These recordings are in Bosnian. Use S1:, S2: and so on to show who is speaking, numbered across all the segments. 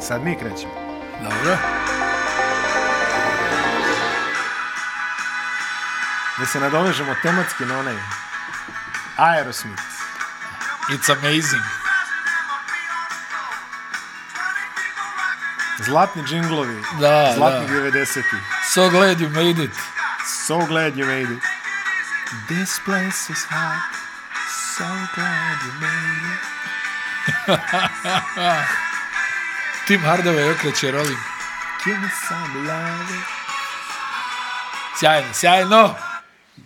S1: Sad mi krećemo.
S2: Dobro.
S1: Da se nadovežemo tematski na onaj Aerosmith.
S2: It's amazing.
S1: Zlatni džinglovi.
S2: Da,
S1: Zlatni
S2: da.
S1: 90-ih.
S2: So glad you made it.
S1: So glad you made it. This place is hot. So glad you made it.
S2: Tim Hardaway okreće rolling.
S1: Give me some love.
S2: Sjajno, sjajno.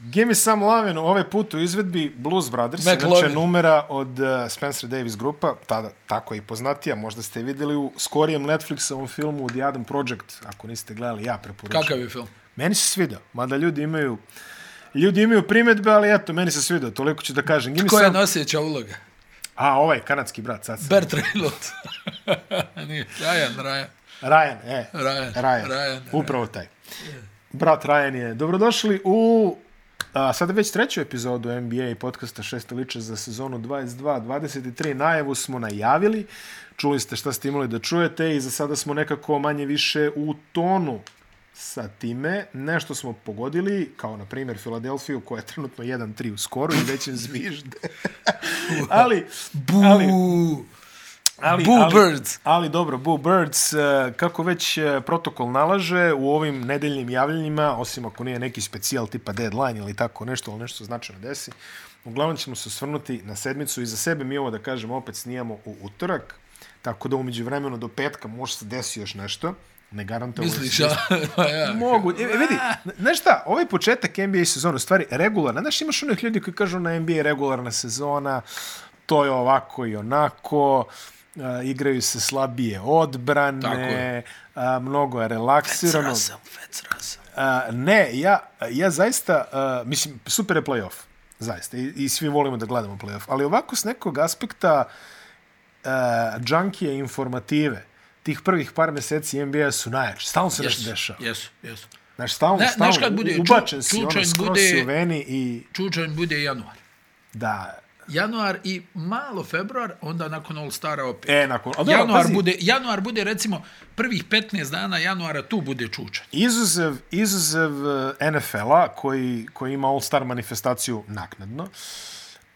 S1: Give me some love. Ove put u izvedbi Blues Brothers,
S2: Mac
S1: inače
S2: Lovin.
S1: numera od uh, Spencer Davis grupa, tada tako je i poznatija, možda ste vidjeli u skorijem Netflixovom filmu The Adam Project, ako niste gledali, ja preporučujem.
S2: Kakav je film?
S1: Meni se svidao, mada ljudi imaju ljudi imaju primjedbe, ali eto, meni se svidao, toliko ću da kažem. Give me
S2: Ko
S1: some...
S2: je noseća uloga?
S1: A, ovaj kanadski brat, sad sam.
S2: Bert Reynolds. Nije, Ryan, Ryan.
S1: Ryan, e.
S2: Ryan,
S1: Ryan.
S2: Ryan, e.
S1: Upravo taj. Brat Ryan je. Dobrodošli u a, sada već treću epizodu NBA podcasta šesto liče za sezonu 22-23. Najavu smo najavili. Čuli ste šta ste imali da čujete i za sada smo nekako manje više u tonu sa time. Nešto smo pogodili, kao na primjer Filadelfiju koja je trenutno 1-3 u skoru i već im zvižde. ali,
S2: Boo.
S1: ali,
S2: Ali, Boo ali, Birds.
S1: Ali dobro, Boo Birds, eh, kako već eh, protokol nalaže, u ovim nedeljnim javljanjima, osim ako nije neki specijal tipa deadline ili tako nešto, ali nešto značajno desi, uglavnom ćemo se osvrnuti na sedmicu i za sebe mi ovo da kažemo opet snijamo u utorak, tako da umeđu vremenu do petka može se desi još nešto, ne garantujem.
S2: Misliš, ja? ja.
S1: Mogu. E, e, vidi, znaš šta, ovaj početak NBA sezona, u stvari regularna, znaš imaš onih ljudi koji kažu na NBA je regularna sezona, to je ovako i onako, a, igraju se slabije
S2: Tako
S1: odbrane,
S2: je.
S1: a, mnogo je relaksirano.
S2: Russell, Fitz Russell.
S1: A, ne, ja, ja zaista, a, mislim, super je playoff, zaista, i, i svi volimo da gledamo playoff, ali ovako s nekog aspekta uh, džankije informative, tih prvih par meseci NBA su najjači, stalno se yes. nešto dešava.
S2: Jesu, jesu.
S1: Znaš, stalno,
S2: Ne,
S1: stalno,
S2: znaš kad bude, ču-
S1: ubačen si, ono,
S2: ključan
S1: skroz
S2: bude-
S1: si u veni i
S2: Čučanj bude januar.
S1: da,
S2: Januar i malo februar, onda nakon All Stara opet.
S1: e, nakon, ali dobro,
S2: januar,
S1: pazi,
S2: bude, januar bude recimo prvih 15 dana januara tu bude čučanj.
S1: izuzev, izuzev eh, NFL-a koji, koji ima All-Star manifestaciju naknadno,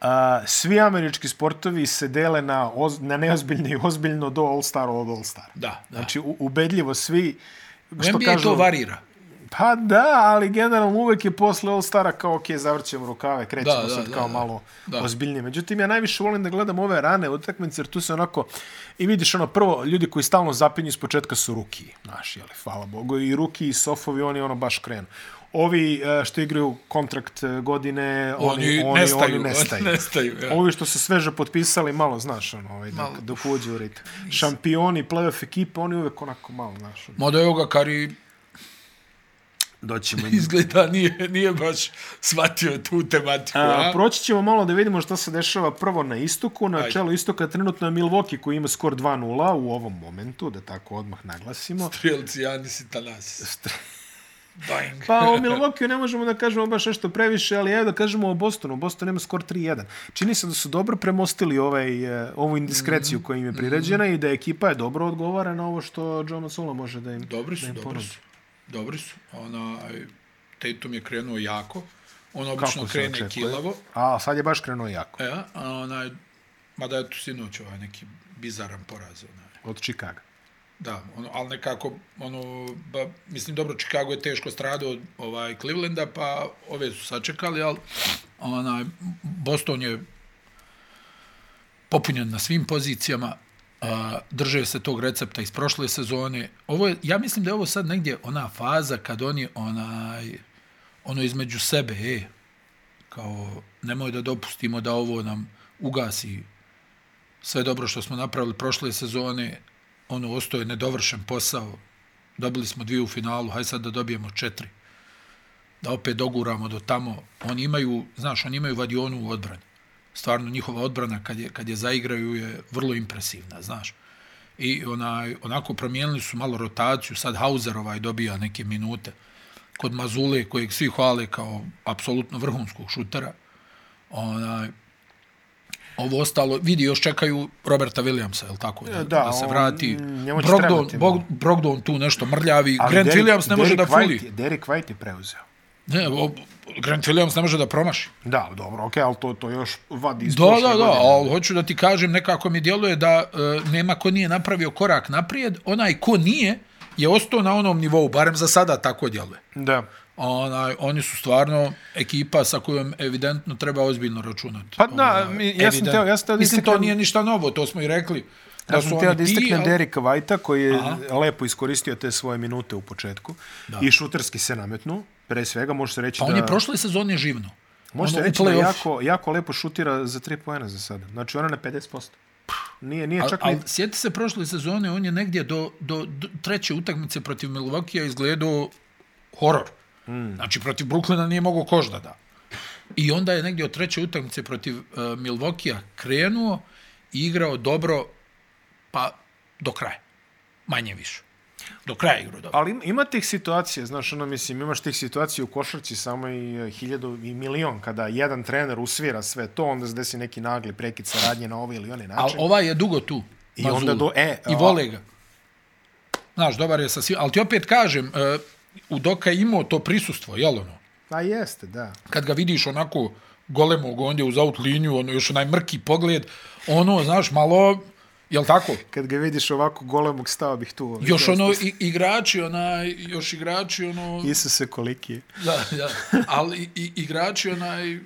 S1: a, svi američki sportovi se dele na, oz, na neozbiljno i ozbiljno do All-Star od All-Star.
S2: Da, da.
S1: Znači, u, ubedljivo svi,
S2: U NBA to varira.
S1: Pa da, ali generalno uvek je posle All-Stara kao, ok, zavrćemo rukave, krećemo da,
S2: Da, da,
S1: sad
S2: da,
S1: kao
S2: da.
S1: malo da.
S2: Da.
S1: ozbiljnije. Međutim, ja najviše volim da gledam ove rane utakmice, jer tu se onako, i vidiš ono, prvo, ljudi koji stalno zapinju iz početka su ruki, naši, jeli, hvala Bogu, i ruki i sofovi, oni ono baš krenu. Ovi e, što igraju kontrakt e, godine, oni,
S2: Oni
S1: oni,
S2: nestaju,
S1: oni nestaju.
S2: oni nestaju, ja.
S1: Ovi što su sveže potpisali, malo, znaš, ono, ovaj, dok, dok uđe u ritam. Šampioni, playoff ekipe, oni uvek onako malo, znaš, ono.
S2: Mada evo ga Kari
S1: Doćemo
S2: izgleda nije, nije baš shvatio tu tematiku.
S1: A,
S2: A,
S1: proći ćemo malo da vidimo šta se dešava prvo na istoku. Na
S2: Ajde.
S1: čelu istoka trenutno je Milwaukee koji ima skor 2-0 u ovom momentu, da tako odmah naglasimo.
S2: Strijelci Janis i Tanasis. Doink.
S1: Pa o Milwaukee ne možemo da kažemo baš nešto previše, ali evo da kažemo o Bostonu. Boston ima skor 3-1. Čini se da su dobro premostili ovaj, eh, ovu indiskreciju
S2: Mhm.
S1: koja im je priređena i da ekipa je dobro odgovara na ovo što Joe Mazzola može da im
S2: Dobri
S1: da
S2: su,
S1: im
S2: dobri
S1: ponudi.
S2: su. Dobri su. Ona, Tatum je krenuo jako. On obično
S1: se
S2: krene
S1: očekuje?
S2: kilavo.
S1: A sad je baš krenuo jako.
S2: E, a onaj, mada je tu sinoć ovaj neki bizaran poraz. Onaj.
S1: Od Chicaga.
S2: Da, ono, ali nekako, ono, ba, mislim, dobro, Chicago je teško stradao od ovaj, Clevelanda, pa ove su sačekali, ali onaj, Boston je popunjen na svim pozicijama, a, drže se tog recepta iz prošle sezone. Ovo je, ja mislim da je ovo sad negdje ona faza kad oni onaj, ono između sebe, e, kao nemoj da dopustimo da ovo nam ugasi sve dobro što smo napravili prošle sezone, ono, ostao je nedovršen posao, dobili smo dvije u finalu, hajde sad da dobijemo četiri, da opet doguramo do tamo. Oni imaju, znaš, oni imaju vadionu u odbrani. Stvarno, njihova odbrana kad je, kad je zaigraju je vrlo impresivna, znaš. I onaj, onako promijenili su malo rotaciju, sad Hauser ovaj dobija neke minute kod Mazule, kojeg svi hvale kao apsolutno vrhunskog šutera. Onaj, Ovo ostalo, vidi, još čekaju Roberta Williamsa, je tako? Da,
S1: E, Da,
S2: da se
S1: on-
S2: vrati.
S1: njemu će
S2: Brogdon,
S1: trebati,
S2: Bog,
S1: malo.
S2: Brogdon tu nešto mrljavi. Grant
S1: Derrick-
S2: Williams ne može da
S1: Derrick White
S2: fuli.
S1: je- Derrick White je preuzeo.
S2: Ne, o, Grant Williams ne može da promaši.
S1: Da, dobro, okej, okay, ali to, to još vadi iz
S2: Da,
S1: prošle
S2: da, da,
S1: godine.
S2: ali hoću da ti kažem, nekako mi djeluje da e, nema ko nije napravio korak naprijed, onaj ko nije je ostao na onom nivou, barem za sada tako djeluje.
S1: Da.
S2: Onaj, oni su stvarno ekipa sa kojom evidentno treba ozbiljno računati.
S1: Pa da,
S2: Onaj,
S1: mi- ja sam
S2: evidentno.
S1: teo- ja sam teo da
S2: Mislim, to
S1: istaknem-
S2: nije ništa novo, to smo i rekli. Da
S1: Ja
S2: su
S1: sam teo
S2: oni
S1: da
S2: ti,
S1: istaknem
S2: ali-
S1: Derika Vajta koji je lepo iskoristio te svoje minute u početku da. i šuterski se nametnuo. Pre svega može se reći
S2: Pa
S1: da...
S2: on je prošle sezone živno.
S1: Možete
S2: Ono, u
S1: reći da
S2: play-off.
S1: jako, jako lepo šutira za tri poena za sada. Znači ona na 50%. Nije, nije čak
S2: Ali
S1: ni...
S2: al, sjeti se prošle sezone, on je negdje do, do, do treće utakmice protiv Milwaukee izgledao horor.
S1: Hmm.
S2: Mm. Znači, protiv Brooklyna nije mogao koš da da. I onda je negdje od treće utakmice protiv uh, Milwaukee krenuo i igrao dobro, pa do kraja. Manje više. Do kraja igrao dobro.
S1: Ali im- ima tih situacija, znaš, ono, mislim, imaš tih situacija u košarci samo i e, hiljadu i milion, kada jedan trener usvira sve to, onda se desi neki nagli prekid saradnje na ovaj ili onaj
S2: Ali
S1: način.
S2: ovaj je dugo tu.
S1: I onda
S2: Mazula.
S1: do- e,
S2: I
S1: a-
S2: vole ga. Znaš, dobar je sa svim. Ali ti opet kažem, uh, u Doka je imao to prisustvo, jel ono?
S1: A jeste, da.
S2: kad ga vidiš onako golemog ondje uz out liniju, ono, još onaj mrki pogled, ono, znaš, malo, jel tako?
S1: Kad ga vidiš ovako golemog stao bih tu. Ovaj,
S2: Još
S1: to-
S2: ono, i, igrači, onaj, još igrači, ono,
S1: Isuse koliki je.
S2: da, da, ali i, i, igrači, onaj,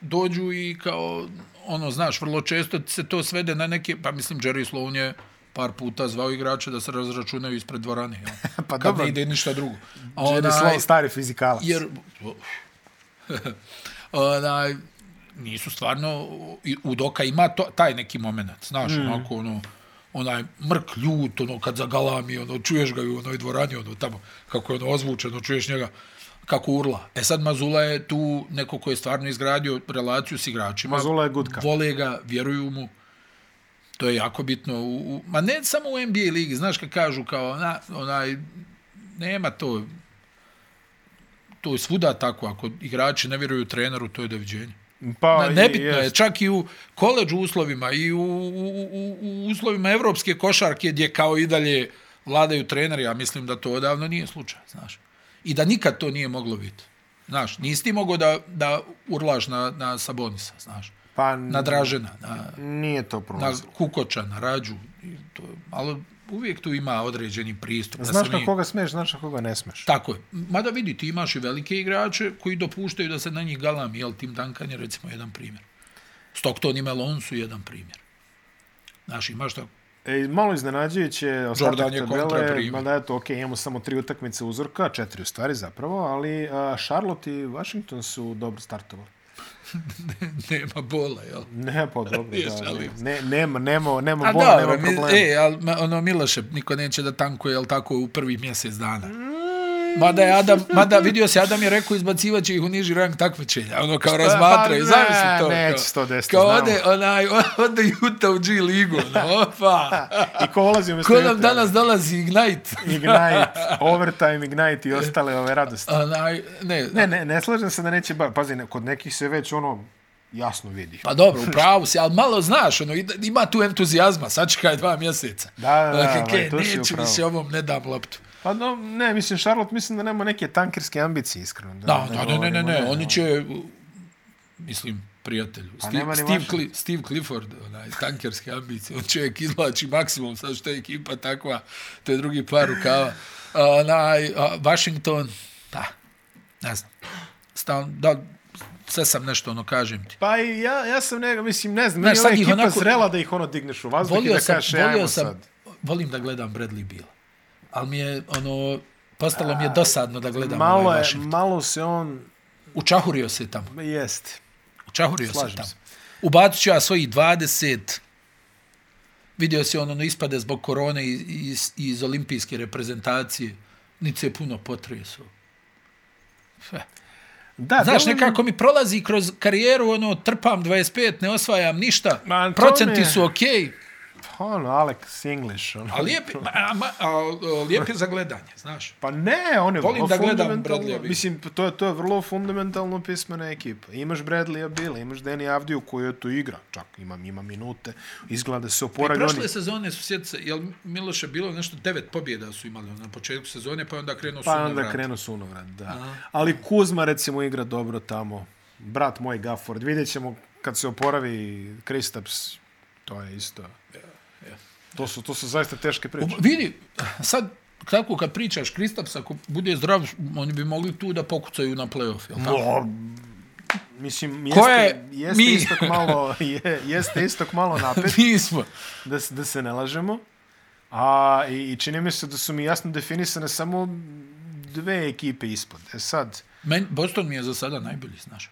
S2: dođu i kao, ono, znaš, vrlo često se to svede na neke, pa mislim, Jerry Sloan je par puta zvao igrače da se razračunaju ispred dvorane, jel?
S1: Pa
S2: Kad
S1: dobro.
S2: ne ide ništa drugo. A
S1: Onaj... Sloan, stari fizikalac.
S2: Jer, onaj, nisu stvarno, i- u Doka ima to, taj neki moment, znaš, mm. onako, ono, onaj mrk ljut, ono, kad zagalami, ono, čuješ ga i u onoj dvorani, ono, tamo, kako je ono ozvučeno, čuješ njega, kako urla. E sad Mazula je tu neko ko je stvarno izgradio relaciju s igračima.
S1: Mazula je good cop.
S2: Vole ga, vjeruju mu. To je jako bitno. U, u, ma ne samo u NBA ligi, znaš kad kažu kao, na, onaj, nema to, to je svuda tako, ako igrači ne vjeruju treneru, to je doviđenje.
S1: Pa,
S2: Na,
S1: i-
S2: nebitno je,
S1: jest.
S2: čak i u koleđ uslovima i u, u, u, u uslovima evropske košarke gdje kao i dalje vladaju treneri, ja mislim da to odavno nije slučaj, znaš. I da nikad to nije moglo biti. Znaš, nisi ti mogao da, da urlaš na, na Sabonisa, znaš.
S1: Pa,
S2: Na Dražena, na,
S1: Nije to
S2: na
S1: prolazilo.
S2: Kukoča, na Rađu. I To, je- ali uvijek tu ima određeni pristup. da se
S1: Znaš na
S2: mi-
S1: koga smeš, znaš na koga ne smeš.
S2: Tako je. Mada vidi, ti imaš i velike igrače koji dopuštaju da se na njih galami, jel Tim Duncan je recimo jedan primjer. Stockton i Melon su jedan primjer. Znaš, imaš tako.
S1: E, malo iznenađujuće je ostatak
S2: Jordan je kontra
S1: tabele,
S2: primjer.
S1: mada eto, ok, imamo samo tri utakmice uzorka, četiri u stvari zapravo, ali a, Charlotte i Washington su dobro startovali.
S2: Nema bola, jel?
S1: Ne, pa dobro,
S2: Nije
S1: da,
S2: šalim
S1: ne, ne, nema, nema, nema
S2: A
S1: bola,
S2: da,
S1: nema
S2: dobro, mi,
S1: problema.
S2: e, ali, ma, ono, Miloše, niko neće da tankuje, jel tako, u prvi mjesec dana. Mada je Adam, mada vidio se, Adam je rekao izbacivaće ih u niži rang takmičenja, ono kao razmatra i
S1: Pa ne,
S2: zamisli to.
S1: neće
S2: kao-
S1: se to desiti,
S2: Kao
S1: znamo.
S2: ode, onaj, ode Utah u G ligu, ono, opa.
S1: I ko ulazi umjesto
S2: Ko nam
S1: Utah?
S2: danas dolazi Ignite?
S1: Ignite, Overtime, Ignite i ostale ove radosti.
S2: Onaj, ne,
S1: Ne, ne, ne slažem se da neće, ba, pazi, ne, kod nekih se već ono jasno vidi.
S2: Pa dobro, u pravu si, ali malo znaš, ono, ide- ima tu entuzijazma, sačekaj dva mjeseca.
S1: Da, da, da,
S2: Dakle,
S1: ovaj,
S2: ke,
S1: tu si u
S2: neću mi
S1: pravu.
S2: se ovom, ne dam loptu.
S1: Pa no, ne, mislim, Charlotte mislim da nema neke tankerske ambicije, iskreno.
S2: Da, da, ne, ne, ne,
S1: govorimo,
S2: ne, oni će, mislim, prijatelju,
S1: Pa nema
S2: Steve,
S1: ni
S2: Steve,
S1: vaše.
S2: Cli, Steve Clifford, onaj, tankerske ambicije, on čovjek izvlači maksimum, sad što je ekipa takva, to je drugi par rukava. A, Onaj, a, Washington, da, ne znam, stan, da, sve sam nešto, ono, kažem ti.
S1: Pa i ja, ja sam nega, mislim, ne znam,
S2: Znaš,
S1: meni je ova
S2: sad ih
S1: ekipa
S2: onako-
S1: onako... zrela da ih ono digneš u vazduh i
S2: volio
S1: da
S2: sam,
S1: kažeš, "E,
S2: volio
S1: ajmo
S2: sam,
S1: sad.
S2: volim da gledam Bradley Beal. Ali mi je, ono, postalo mi je dosadno da gledam
S1: Malo,
S2: ovaj
S1: je,
S2: Washington.
S1: malo se on,
S2: Učahurio se tamo.
S1: jest.
S2: Učahurio se
S1: Slažem
S2: tamo.
S1: se.
S2: Ubacit ću ja svojih 20... Vidio se ono, ono ispade zbog korone iz, iz, iz olimpijske reprezentacije. Nic se puno potresao.
S1: Da,
S2: Znaš,
S1: djeluje mi-
S2: nekako mi prolazi kroz karijeru, ono, trpam 25, ne osvajam ništa,
S1: Ma, to
S2: procenti
S1: me-
S2: su okej. Okay.
S1: ono, Alex English. Ono.
S2: A lijep, je- ma, a, ma, a, a, lijep je za gledanje, znaš.
S1: Pa ne, on je
S2: Volim
S1: vrlo
S2: da gledam
S1: fundamentalno.
S2: Bradley'a Billa.
S1: Mislim, to je, to je vrlo fundamentalno pismena ekipa. Imaš Bradley'a Bila, imaš Danny Avdiju koji je to igra. Čak ima, ima minute, izgleda da se
S2: Pa I
S1: oporavlja.
S2: prošle sezone su sjedce, jel Miloše bilo nešto, devet pobjeda su imali na početku sezone, pa je onda krenuo
S1: Pa onda
S2: sunovrat.
S1: krenu sunovrat, da. Ali Kuzma recimo igra dobro tamo. Brat moj Gafford. Vidjet ćemo kad se oporavi Kristaps. To je isto. To su, to su zaista teške priče.
S2: U- Vidi, sad tako kad pričaš Kristaps, ako bude zdrav, oni bi mogli tu da pokucaju na play-off, jel pa? tako?
S1: No, mislim,
S2: Ko
S1: jeste,
S2: je
S1: jeste,
S2: mi?
S1: istok malo, je, jeste istok malo napet.
S2: Mi smo.
S1: da, se- da se ne lažemo. A, i, I čini mi se da su mi jasno definisane samo dve ekipe ispod. E sad,
S2: Men, Boston mi je za sada najbolji, znaš.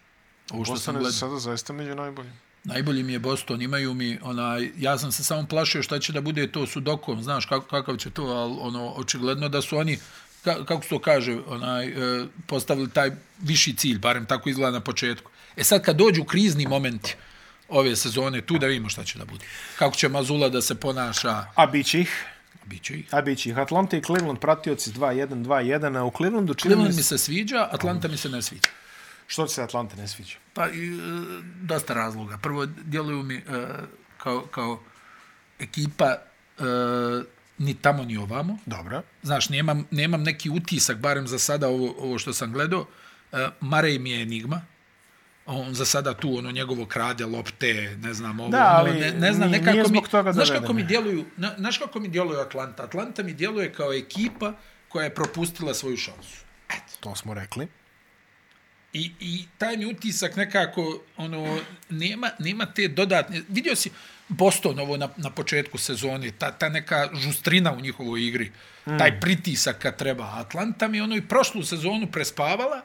S2: Ovo što sam
S1: ostane
S2: gledao.
S1: za sada zaista među najboljim.
S2: Najbolji mi je Boston, imaju mi, onaj, ja sam se samo plašio šta će da bude to su dokom, znaš kak, kakav će to, ali ono, očigledno da su oni, ka, kako se to kaže, onaj, e, postavili taj viši cilj, barem tako izgleda na početku. E sad kad dođu krizni momenti ove sezone, tu da vidimo šta će da bude. Kako će Mazula da se ponaša,
S1: A bit će ih.
S2: biće ih.
S1: A bit će ih. Atlanta i Cleveland pratioci 2-1, 2-1. A u Clevelandu čini
S2: Cleveland
S1: mi
S2: mi
S1: se...
S2: se sviđa, Atlanta mi se ne sviđa.
S1: Što ti se Atlanta ne sviđa?
S2: Pa, i, e, dosta razloga. Prvo, djeluju mi e, kao, kao ekipa e, ni tamo ni ovamo.
S1: Dobro.
S2: Znaš, nemam, nemam neki utisak, barem za sada ovo, ovo što sam gledao. E, Marej mi je enigma. On za sada tu, ono, njegovo krade, lopte, ne znam, ovo,
S1: Da, ali
S2: ono, ne, ne znam,
S1: nije-
S2: nekako
S1: nije
S2: mi,
S1: zbog toga
S2: znaš kako
S1: doveden
S2: mi
S1: je.
S2: djeluju, na, znaš kako mi djeluje Atlanta? Atlanta mi djeluje kao ekipa koja je propustila svoju šansu.
S1: To smo rekli.
S2: I, i taj mi utisak nekako, ono, nema, nema te dodatne... Vidio si Boston ovo na, na početku sezone, ta, ta neka žustrina u njihovoj igri, mm. taj pritisak kad treba. Atlanta mi je ono i prošlu sezonu prespavala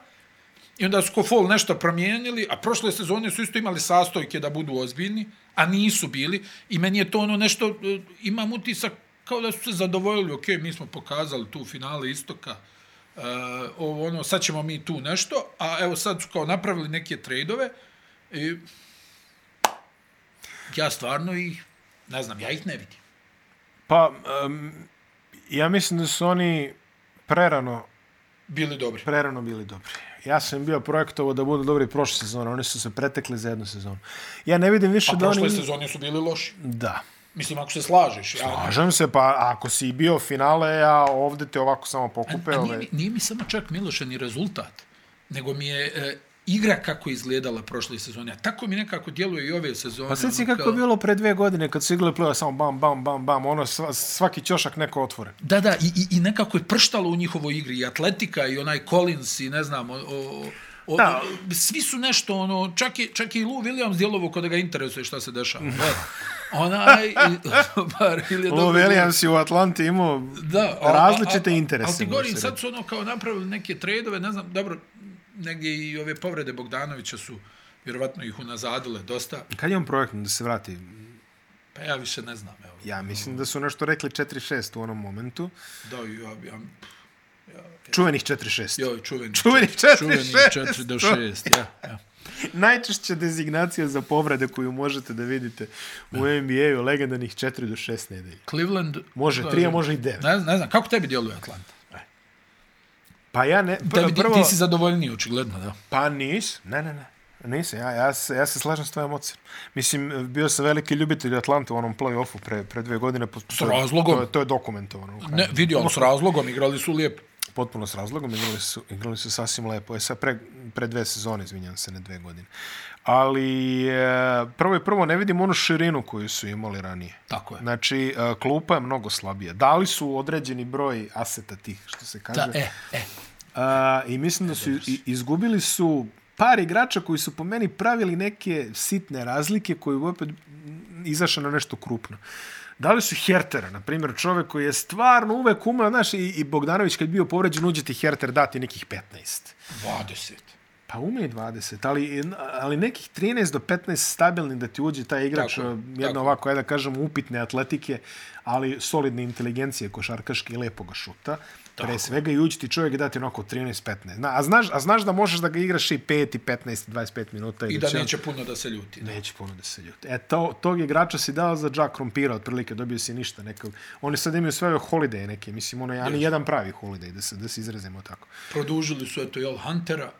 S2: i onda su Kofol nešto promijenili, a prošle sezone su isto imali sastojke da budu ozbiljni, a nisu bili. I meni je to ono nešto, e, imam utisak kao da su se zadovoljili, ok, mi smo pokazali tu finale istoka, Uh, ovo, ono, sad ćemo mi tu nešto, a evo sad su kao napravili neke trejdove i ja stvarno ih, ne znam, ja ih ne vidim.
S1: Pa, um, ja mislim da su oni prerano,
S2: Bili dobri.
S1: prerano bili dobri. Ja sam bio projektovo da budu dobri prošle sezone. Oni su se pretekli za jednu sezonu. Ja ne vidim više
S2: A
S1: Znači da
S2: Pa prošle
S1: oni...
S2: sezone su bili loši.
S1: Da.
S2: Mislim, ako se slažeš. Ja,
S1: Slažem se, pa ako si i bio finale, a ovde te ovako samo pokupe, ovaj-
S2: A
S1: ove...
S2: nije, mi, nije mi samo čak Miloše ni rezultat, nego mi je e, igra kako je izgledala prošle sezone. A tako mi nekako djeluje i ove sezone.
S1: Pa sad si
S2: ono,
S1: kako
S2: kao-
S1: je bilo pre dve godine kad su igrali play samo bam, bam, bam, bam, ono sva- svaki ćošak neko otvore.
S2: Da, da, i, i, i nekako je prštalo u njihovoj igri. I atletika, i onaj Collins, i ne znam, o, o, o,
S1: Da.
S2: o, svi su nešto, ono, čak i, čak i Lou Williams djelovo kod da ga interesuje šta se dešava. Da. Onaj, i, bar, ili je
S1: Lou
S2: dobro-
S1: Williams je u Atlanti imao
S2: da,
S1: različite interese,
S2: Ali ti
S1: može
S2: govorim,
S1: se
S2: sad su ono kao napravili neke trejdove, ne znam, dobro, negdje i ove povrede Bogdanovića su vjerovatno ih unazadile dosta,
S1: Kad je on projektno da se vrati?
S2: pa ja više ne znam, evo.
S1: Ja mislim da su nešto rekli 4-6 u onom momentu.
S2: Da, ja, ja,
S1: Čuvenih 4-6.
S2: joj, čuveni,
S1: Čuvenih
S2: četiri-
S1: 4,
S2: čuveni 4 do
S1: 6,
S2: 6, ja, ja.
S1: Najčešća dezignacija za povrede koju možete da vidite u NBA-u legendanih 4 do 6 nedelje.
S2: Cleveland...
S1: Može
S2: pa,
S1: 3, a može i 9.
S2: Ne, ne znam, kako tebi djeluje Atlanta?
S1: Pa ja ne...
S2: Tebi,
S1: Prvo,
S2: ti-
S1: prvo
S2: Ti si zadovoljniji, očigledno, da.
S1: Pa nis, ne, ne, ne. Nisam, ja, ja, se, ja se slažem s tvojom ocenom. Mislim, bio sam veliki ljubitelj Atlanta u onom play-offu pre, pre dve godine. Po, s
S2: razlogom.
S1: To, je- to je dokumentovano. u krajnjem.
S2: Ne, vidi, ali s razlogom igrali su lijepo.
S1: Potpuno s razlogom, igrali su, igrali su sasvim lepo. E sad, pre, pre dve sezone, izvinjam se, ne dve godine. Ali, e, prvo i prvo, ne vidim onu širinu koju su imali ranije.
S2: Tako je.
S1: Znači, e, klupa je mnogo slabija. Dali su određeni broj aseta tih, što se kaže.
S2: Da, e, e,
S1: A, I mislim da su i- izgubili su par igrača koji su po meni pravili neke sitne razlike koji bi opet izašao na nešto krupno. Da li su Hertera, na primjer, čovek koji je stvarno uvek umeo, znaš, i, i Bogdanović kad je bio povređen, uđe ti Herter dati nekih 15.
S2: 20.
S1: Pa ume i 20, ali, ali nekih 13 do 15 stabilni da ti uđe taj igrač,
S2: Tako je,
S1: tako, jedno
S2: tako je.
S1: tako. ovako, ajde da kažem, upitne atletike, ali solidne inteligencije košarkaške i lepoga šuta. Tako. Pre svega i uđe ti čovjek i dati onako 13-15. Na, a, znaš, a znaš da možeš da ga igraš i 5 i 15 25 minuta.
S2: I
S1: da
S2: da
S1: će on-
S2: neće puno da se ljuti. Da.
S1: Neće puno da se ljuti. E, to, tog igrača si dao za Jack Krompira, otprilike dobio si ništa nekog. Oni sad imaju sve ove holiday neke, mislim, ono, ja ni jedan pravi holiday, da se, da se izrazimo tako.
S2: Produžili su, eto, jel, Huntera.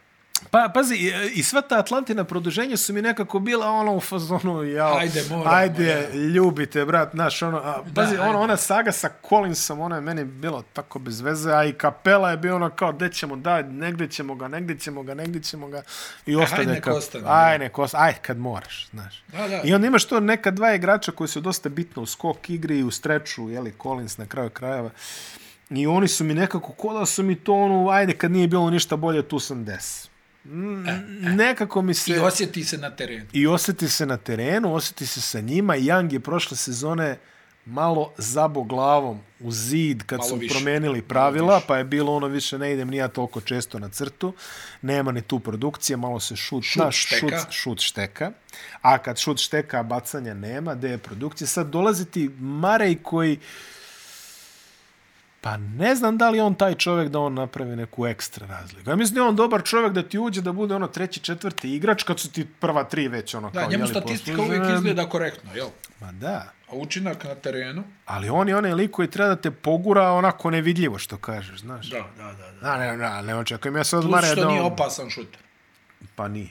S1: Pa, pazi, i, i sva ta Atlantina produženja su mi nekako bila ono u fazonu, jao,
S2: Ajde, moramo,
S1: ajde ljubite, brat, naš, ono, a, pazi,
S2: Da,
S1: da, ono,
S2: ajde.
S1: ona saga sa Collinsom, ona je meni bilo tako bez veze, a i Kapela je bio ono kao, gde ćemo, da, negde ćemo ga, negde ćemo ga, negde ćemo ga, i ostane.
S2: E, nek
S1: kad-
S2: ostane,
S1: Aj, nek ostane, aj, kad moraš, znaš.
S2: Da, da.
S1: I onda imaš to neka dva igrača koji su dosta bitno u skok igri i u streču, jeli, Collins na kraju krajeva. I oni su mi nekako, ko da su mi to ono, ajde, kad nije bilo ništa bolje, tu sam des. Mm, Nekako mi se...
S2: Eh, I osjeti se na terenu.
S1: I osjeti se na terenu, osjeti se sa njima. Young je prošle sezone malo zabo glavom u zid kad
S2: Malo
S1: su
S2: više.
S1: promenili
S2: Malo
S1: pravila,
S2: više.
S1: pa je bilo ono više ne idem nija toliko često na crtu, nema ni tu produkcije, malo se šut, šut,
S2: šteka.
S1: šut, šut šteka, a kad šut šteka, bacanja nema, gde je produkcija. Sad dolazi ti Marej koji Pa ne znam da li je on taj čovjek da on napravi neku ekstra razliku. Ja mislim da je on dobar čovjek da ti uđe da bude ono treći, četvrti igrač kad su ti prva tri već ono
S2: Da,
S1: kao
S2: njemu
S1: jeli,
S2: statistika
S1: poslužene.
S2: uvijek izgleda korektno, jel?
S1: Ma da,
S2: A učinak na terenu?
S1: ali on je onaj lik koji treba da te pogura onako nevidljivo što kažeš, znaš. Da.
S2: Da, da, da. da.
S1: Da, ne, ne, ne očekujem ja sad od
S2: Plus
S1: Mareja
S2: što
S1: da on...
S2: nije opasan šuter.
S1: Pa nije.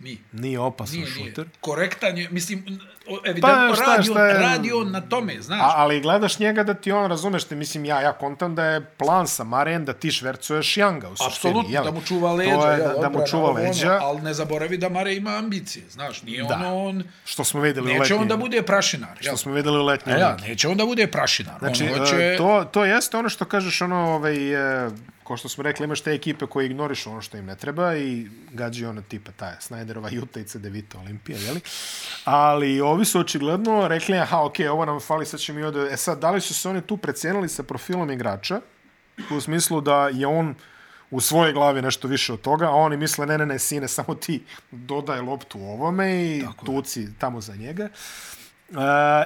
S2: Nije.
S1: Nije opasan
S2: Nije,
S1: nije,
S2: nije.
S1: šuter.
S2: Korektan je, mislim, o- evidentno, pa,
S1: šta je,
S2: radi, on,
S1: šta je?
S2: radi on na tome, znaš.
S1: A, ali gledaš njega da ti on, razumeš te, mislim, ja, ja kontam da je plan sa Marejem da ti švercuješ Janga u suštini.
S2: Apsolutno,
S1: jeli?
S2: da mu čuva
S1: To
S2: leđa.
S1: je da,
S2: jel,
S1: da mu
S2: odbrana,
S1: čuva
S2: ovo, ono,
S1: leđa,
S2: ali ne zaboravi da Mare ima ambicije, znaš, nije
S1: Da.
S2: ono on...
S1: što smo videli u
S2: Neće on da
S1: letnjoj.
S2: bude prašinar, jel?
S1: Što smo videli u letnjoj.
S2: E, ja,
S1: ligi.
S2: neće on da bude prašinar.
S1: Znači,
S2: on
S1: hoće...
S2: hoće...
S1: to, to jeste ono što kažeš, ono, ovaj, e, ko što smo rekli, imaš te ekipe koje ignorišu ono što im ne treba i gađaju ono tipa ta Snyderova Juta i Cedevita Olimpija, jeli? Ali ovi su očigledno rekli, aha, okej, ovo nam fali, sad ćemo i ode... E sad, da li su se oni tu precijenili sa profilom igrača? U smislu da je on u svojoj glavi nešto više od toga, a oni misle, ne, ne, ne, sine, samo ti dodaj loptu ovome i
S2: Tako je.
S1: tuci tamo za njega. Uh,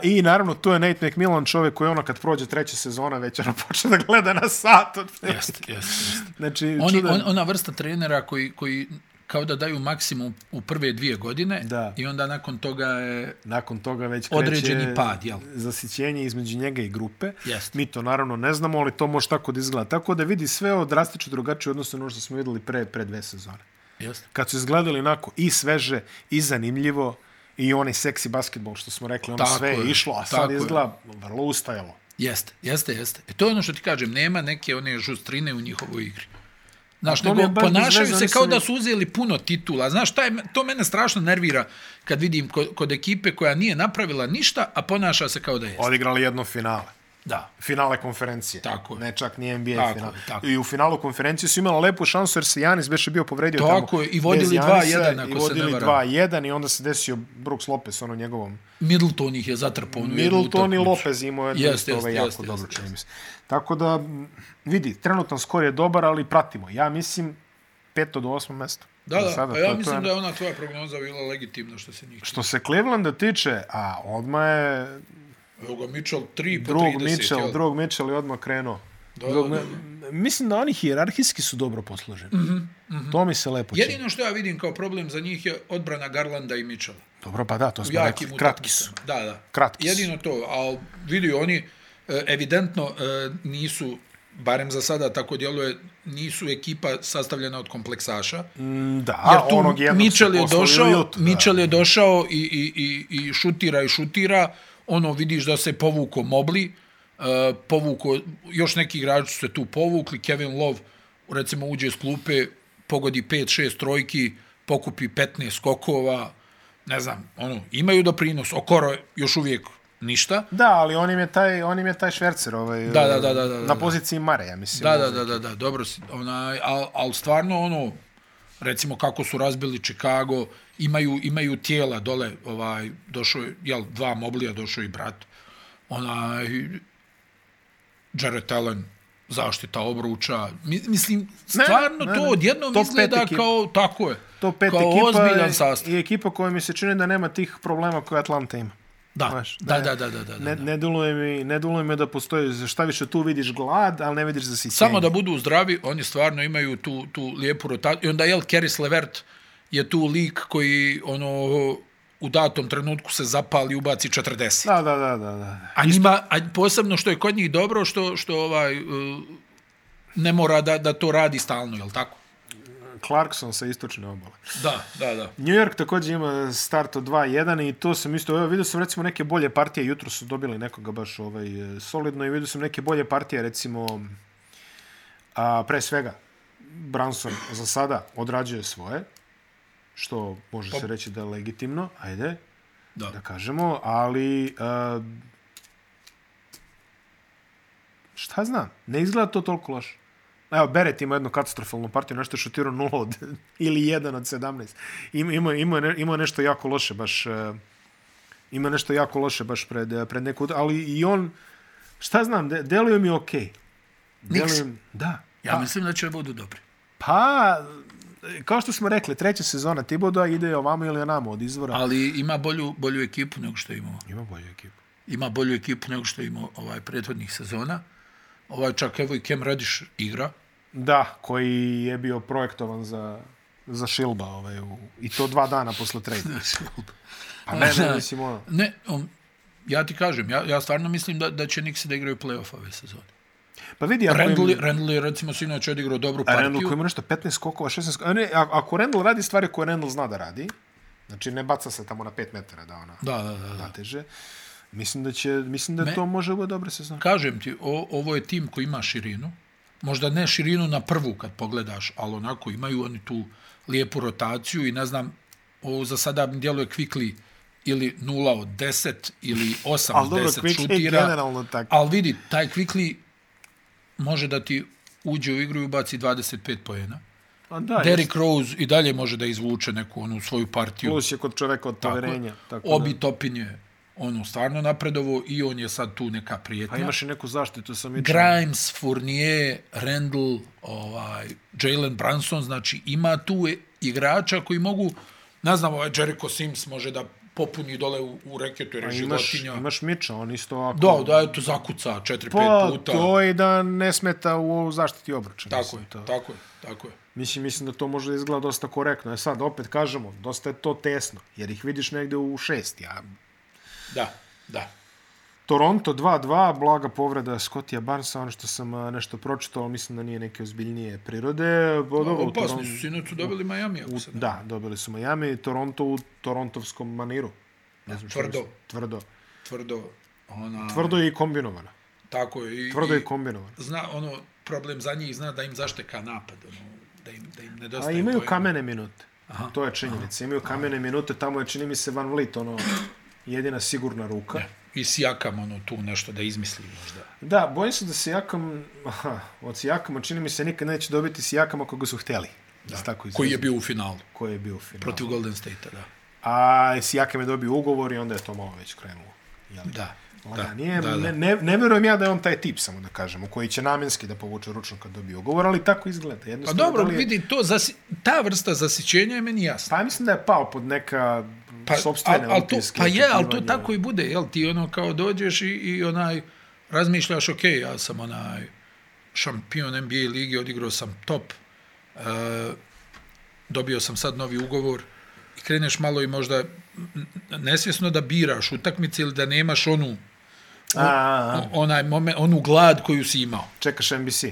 S1: I naravno tu je Nate McMillan čovjek koji ono kad prođe treća sezona već ono počne da gleda na sat.
S2: Jeste, jeste, jeste.
S1: Znači,
S2: Oni,
S1: čudan-
S2: on, ona vrsta trenera koji, koji kao da daju maksimum u prve dvije godine
S1: Da.
S2: i onda nakon toga je
S1: nakon toga već kreće
S2: određeni pad, jel?
S1: zasićenje između njega i grupe.
S2: Jeste.
S1: Mi to naravno ne znamo, ali to može tako da izgleda. Tako da vidi sve ovo drastično drugačije odnosno na ono što smo videli pre, pre dve sezone.
S2: Jeste.
S1: Kad su izgledali onako i sveže i zanimljivo i onaj seksi basketbol što smo rekli, ono
S2: Tako
S1: sve je
S2: je,
S1: išlo, a
S2: tako
S1: sad
S2: je.
S1: izgleda vrlo ustajalo.
S2: Jeste, jeste, jeste. E to je ono što ti kažem, nema neke one žustrine u njihovoj igri. Znaš,
S1: to mi je
S2: nego
S1: baš bez
S2: ponašaju
S1: veze,
S2: se
S1: oni
S2: kao
S1: su-
S2: da su uzeli puno titula. Znaš, taj, to mene strašno nervira kad vidim kod, kod ekipe koja nije napravila ništa, a ponaša se kao da jeste.
S1: Odigrali jedno finale.
S2: Da.
S1: finale konferencije.
S2: Tako je.
S1: Ne čak ni NBA
S2: Tako
S1: tako,
S2: je,
S1: final.
S2: tako.
S1: Tako. I u finalu konferencije su imali lepu šansu jer se Janis beše bio povredio
S2: Tako
S1: tamo.
S2: je, i vodili
S1: bez Janisa
S2: 2:1 ako se
S1: I
S2: ne
S1: vodili
S2: varam.
S1: 2-1 i onda se desio Brooks Lopez ono njegovom.
S2: Middleton ih je zatrpao. onu jednu
S1: Middleton i
S2: utakmicu.
S1: Lopez imao je
S2: Jeste,
S1: isto
S2: jeste,
S1: ovaj jako
S2: jeste,
S1: dobro
S2: jeste,
S1: čini mi se. Tako da m, vidi, trenutan skor je dobar, ali pratimo. Ja mislim 5 do 8 mesta.
S2: Da, da,
S1: E Sada,
S2: pa
S1: to
S2: ja
S1: je- to
S2: mislim
S1: je-
S2: da je ona tvoja prognoza bila legitimna što se njih tiče.
S1: Što se Clevelanda tiče, a odma je
S2: Evo ga Mitchell 3 po
S1: drug
S2: 30. jel?
S1: Mitchell, drug Mitchell je odmah krenuo.
S2: Da,
S1: Drug,
S2: da,
S1: Mi- Mislim da oni hijerarhijski su dobro posloženi. Mm
S2: Mhm,
S1: -hmm, mm -hmm. To mi se lepo čini.
S2: Jedino što ja vidim kao problem za njih je odbrana Garlanda i Mitchella.
S1: Dobro, pa da, to
S2: U
S1: smo
S2: jakim
S1: rekli. Kratki su.
S2: utakmicama. Da, da.
S1: Kratki su.
S2: Jedino to, ali vidi oni e, evidentno e, nisu barem za sada tako djeluje, nisu ekipa sastavljena od kompleksaša.
S1: Mm, Da,
S2: Jer tu
S1: onog jednog
S2: Mitchell
S1: su
S2: je
S1: poslali u
S2: došao,
S1: Jutu, da.
S2: Mitchell je došao i, i, i, i šutira i šutira, ono vidiš da se povuko Mobli, uh, povuko, još neki igrači su se tu povukli, Kevin Love recimo uđe iz klupe, pogodi 5-6 trojki, pokupi 15 skokova, ne znam, ono, imaju doprinos, Okoro je još uvijek ništa,
S1: Da, ali on im je taj, on im je taj švercer ovaj,
S2: Da, da, da, da, da, da.
S1: na poziciji Mare, ja mislim.
S2: Da, da, da, da, da, dobro si, onaj, al, al stvarno ono, recimo kako su razbili Chicago, imaju, imaju tijela dole, ovaj, došao je, jel, dva moblija, došao je i brat, onaj, Jared Allen, zaštita obruča. Mi- Mislim, stvarno
S1: ne,
S2: to
S1: ne.
S2: odjednom
S1: Top pet
S2: izgleda
S1: ekipa.
S2: kao, tako je,
S1: To pet
S2: kao
S1: ekipa
S2: ozbiljan
S1: je-
S2: sastav.
S1: je ekipa koja mi se čini da nema tih problema koje Atlanta ima.
S2: Da,
S1: znaš,
S2: da,
S1: ne-
S2: da, da, da, da.
S1: Ne,
S2: da.
S1: ne, duluje mi, ne duluje mi da postoji, šta više tu vidiš glad, ali ne vidiš zasićenje.
S2: Samo da budu zdravi, oni stvarno imaju tu, tu lijepu rotaciju. I onda, jel, Keris Levert je tu lik koji, ono, u datom trenutku se zapali, ubaci 40.
S1: Da, da, da, da. da.
S2: A, njima, a posebno što je kod njih dobro, što, što ovaj, uh, ne mora da, da to radi stalno, jel tako?
S1: Clarkson sa istočne obale.
S2: Da, da, da.
S1: New York također ima start od 2-1 i to sam isto, evo vidio sam recimo neke bolje partije, jutro su dobili nekoga baš ovaj, e, solidno i vidio sam neke bolje partije recimo, a, pre svega, Branson za sada odrađuje svoje, što može se reći da je legitimno, ajde,
S2: Da.
S1: da kažemo, ali uh, šta znam, ne izgleda to toliko loše. Evo, Beret ima jednu katastrofalnu partiju, nešto je šutirao 0 od, ili 1 od 17. Ima, ima, ima, ne, ima nešto jako loše baš, uh, ima nešto jako loše baš pred, eh, pred neku, ut- ali i on, šta znam, de, deluje mi okej. Okay. Deluje mi, da.
S2: Ja mislim da će budu dobri.
S1: Pa, kao što smo rekli, treća sezona Tiboda ide ovamo ili onamo od izvora.
S2: Ali ima bolju, bolju ekipu nego što je imao.
S1: Ima bolju ekipu.
S2: Ima bolju ekipu nego što je imao ovaj, prethodnih sezona. Ovaj, čak evo i Cam Radish igra.
S1: Da, koji je bio projektovan za, za Šilba ovaj, u, i to dva dana posle trade. Pa ne, ne, mislim ono.
S2: Ne, on, ja ti kažem, ja, ja stvarno mislim da, da će Nixi da igraju play-off ove sezone.
S1: Pa vidi, ako
S2: Randall, je-
S1: im...
S2: Randall je recimo sinoć odigrao dobru
S1: A Randall
S2: partiju.
S1: koji ima nešto 15 skokova, 16 skokova. Ne, a- ako Randall radi stvari koje Randall zna da radi, znači ne baca se tamo na 5 metara da ona
S2: Da, da, da. da.
S1: nateže, mislim da će, mislim da
S2: Me-
S1: to može bude dobra sezona.
S2: Kažem ti, o, ovo je tim koji ima širinu. Možda ne širinu na prvu kad pogledaš, ali onako imaju oni tu lijepu rotaciju i ne znam, ovo za sada mi djeluje Quickly ili 0 od 10 ili 8
S1: Ali
S2: od
S1: dobro,
S2: 10
S1: Quickly je
S2: šutira.
S1: generalno tako.
S2: Ali vidi, taj Quickly može da ti uđe u igru i ubaci 25 pojena.
S1: A da,
S2: Derrick Rose i dalje može da izvuče neku onu svoju partiju.
S1: plus je kod čoveka od poverenja. Tako,
S2: Obi
S1: Obi...
S2: Topin je ono stvarno napredovo i on je sad tu neka prijetnja.
S1: Da. A imaš i neku zaštitu sa Mitchellom.
S2: Grimes, Fournier, Randall, ovaj, Jalen Branson, znači ima tu e- igrača koji mogu, ne znam, ovaj Jericho Sims može da popuni dole u, u reketu jer je
S1: A Imaš,
S2: životinja.
S1: imaš Miča, on isto ako...
S2: Da, da, eto, zakuca četiri,
S1: Pa,
S2: pet puta.
S1: to je da ne smeta u ovu zaštiti obruča.
S2: Tako
S1: mislim,
S2: je,
S1: to.
S2: tako je, tako je.
S1: Mislim, mislim da to može da izgleda dosta korektno. E sad, opet kažemo, dosta je to tesno, jer ih vidiš negde u šest. Ja.
S2: Da, da.
S1: Toronto 2-2, blaga povreda Scottija Barnesa, ono što sam a, nešto pročitao, ali mislim da nije neke ozbiljnije prirode. Bo, dobro, u
S2: Opasni
S1: Toron-
S2: su sinoć su dobili Miami, ako se ne.
S1: Da, dobili su Miami, Toronto u torontovskom maniru. Ne znam šta
S2: tvrdo.
S1: mislim. Tvrdo.
S2: Tvrdo, ona,
S1: Tvrdo je i kombinovano.
S2: tako je. I,
S1: Tvrdo je
S2: i-
S1: i kombinovano.
S2: zna, ono, problem za njih zna da im zašteka napad, ono, da im, da im
S1: A
S2: nedostaje.
S1: imaju
S2: pojena.
S1: kamene minute. Aha. To je činjenica. Imaju kamene minute, tamo je čini mi se Van Vliet, ono, jedina sigurna ruka.
S2: I Sijakam, ono, tu nešto da izmisli možda.
S1: Da, bojim se da se jakam, aha, od Sijakama čini mi se nikad neće dobiti Sijakama koga su hteli. Da. se Tako
S2: Koji je
S1: izrazim.
S2: bio u finalu
S1: koji je bio u finalu.
S2: protiv Golden State-a, da.
S1: A Sijakam je dobio ugovor i onda je to malo već krenulo. Jeli?
S2: Da.
S1: Da, nije,
S2: da, da.
S1: Ne, ne, ne verujem ja da je on taj tip, samo da kažemo, koji će namenski da povuče ručno kad dobije ugovor, ali tako izgleda.
S2: Pa
S1: Jednostavno,
S2: dobro,
S1: da li je-
S2: vidi, to zasi, ta vrsta zasićenja je meni jasna.
S1: Pa mislim da je pao pod neka
S2: Pa,
S1: sobstvene
S2: al- al to,
S1: utiske,
S2: pa je, ali to
S1: očekivanja.
S2: tako i bude, jel? Ti ono kao dođeš i, i onaj, razmišljaš, ok, ja sam onaj šampion NBA ligi, odigrao sam top, e, dobio sam sad novi ugovor i kreneš malo i možda m, m, nesvjesno da biraš utakmice ili da nemaš onu,
S1: A, a, a.
S2: o- onaj momen, onu glad koju si imao.
S1: čekaš NBC.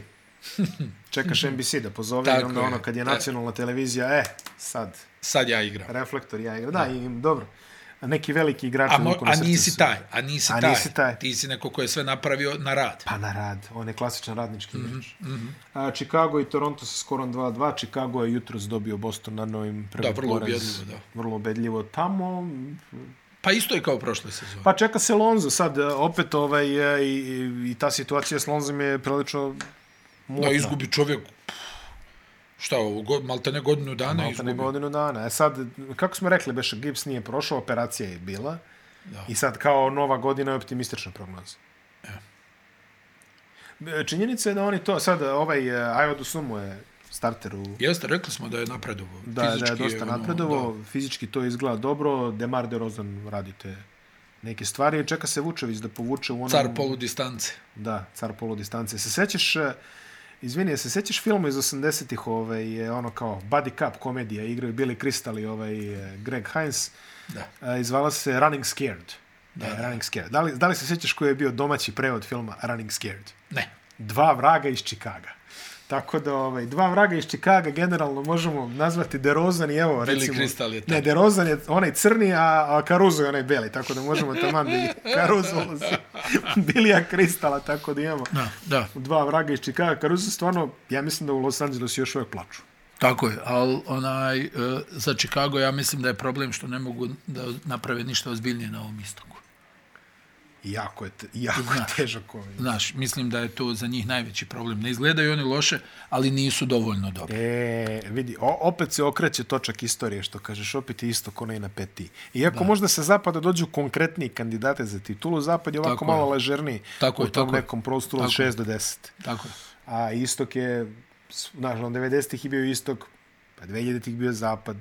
S1: Čekaš NBC da pozove i
S2: Tako
S1: onda
S2: je,
S1: ono kad je
S2: da.
S1: nacionalna televizija, e, sad,
S2: Sad ja igram.
S1: reflektor, ja igram. Da, im, dobro. A Neki veliki igrač
S2: A,
S1: na
S2: mo,
S1: ruku na
S2: a
S1: srcu
S2: nisi
S1: su.
S2: taj, a nisi,
S1: A
S2: taj.
S1: nisi taj.
S2: Ti si neko ko je sve napravio na rad.
S1: Pa na rad, on je klasičan radnički
S2: Mhm,
S1: igrač. A, Chicago i Toronto sa skorom 2-2. Chicago je jutros dobio Boston na novim prvi
S2: Da, vrlo
S1: poraz.
S2: ubjedljivo, da.
S1: Vrlo ubedljivo tamo.
S2: Pa isto je kao prošle sezone.
S1: Pa čeka se Lonzo. Sad, e, opet, ovaj, e, i, i- i ta situacija s Lonzom je prilično mutna.
S2: Da, izgubi čovjek, pff, šta ovo, go, malte ne godinu dana
S1: Malta ne
S2: izgubi.
S1: godinu dana. E sad, kako smo rekli, Beša Gibbs nije prošao, operacija je bila.
S2: Da.
S1: I sad kao nova godina je optimistična prognoza. E, Činjenica je da oni to, sad ovaj eh, Ayodo Sumu je starter u
S2: Jeste, rekli smo da je napredovao.
S1: Da, da je dosta
S2: ono,
S1: napredovao, fizički to izgleda dobro, Demar DeRozan radi te neke stvari, čeka se Vučević da povuče u onom...
S2: da. Car polu distance.
S1: Da, car polu distance. Se sećaš, eh, izvini, jel se sećaš filmu iz 80-ih, ovaj, je ono kao Buddy Cup komedija, igraju Billy Crystal i ovaj eh, Greg Hines,
S2: Da.
S1: eh, izvala se Running Scared. Da, e, Running Scared. Da li, da li se sećaš koji je bio domaći prevod filma Running Scared?
S2: Ne.
S1: dva vraga iz Čikaga. Tako da, ovaj, dva vraga iz Čikaga generalno možemo nazvati DeRozan i evo,
S2: Billy
S1: recimo...
S2: Crystal je taj.
S1: Ne, DeRozan je onaj crni, a, a Caruso je onaj beli, tako da možemo taman da i Caruso ulazi Bilija Kristala, tako da imamo
S2: Da, da.
S1: dva vraga iz Čikaga. Caruso stvarno, ja mislim da u Los Angelesu još uvijek plaču.
S2: Tako je, ali onaj, e, za Chicago ja mislim da je problem što ne mogu da naprave ništa ozbiljnije na ovom istoku.
S1: Jako je, te, jako je
S2: Znaš.
S1: težak ovaj.
S2: Znaš, mislim da je to za njih najveći problem. Ne izgledaju oni loše, ali nisu dovoljno dobri.
S1: E, vidi, o, opet se okreće točak istorije, što kažeš, opet je isto kona i na peti. Iako da. možda sa zapada dođu konkretniji kandidate za titulu, zapad je ovako
S2: Tako
S1: tako
S2: je.
S1: malo ležerniji
S2: Tako
S1: u
S2: je,
S1: tom
S2: tako je.
S1: nekom prostoru od
S2: Tako je.
S1: 6 do 10.
S2: Tako je.
S1: A istok je, znaš, on 90-ih je bio istok, pa 2000-ih bio zapad.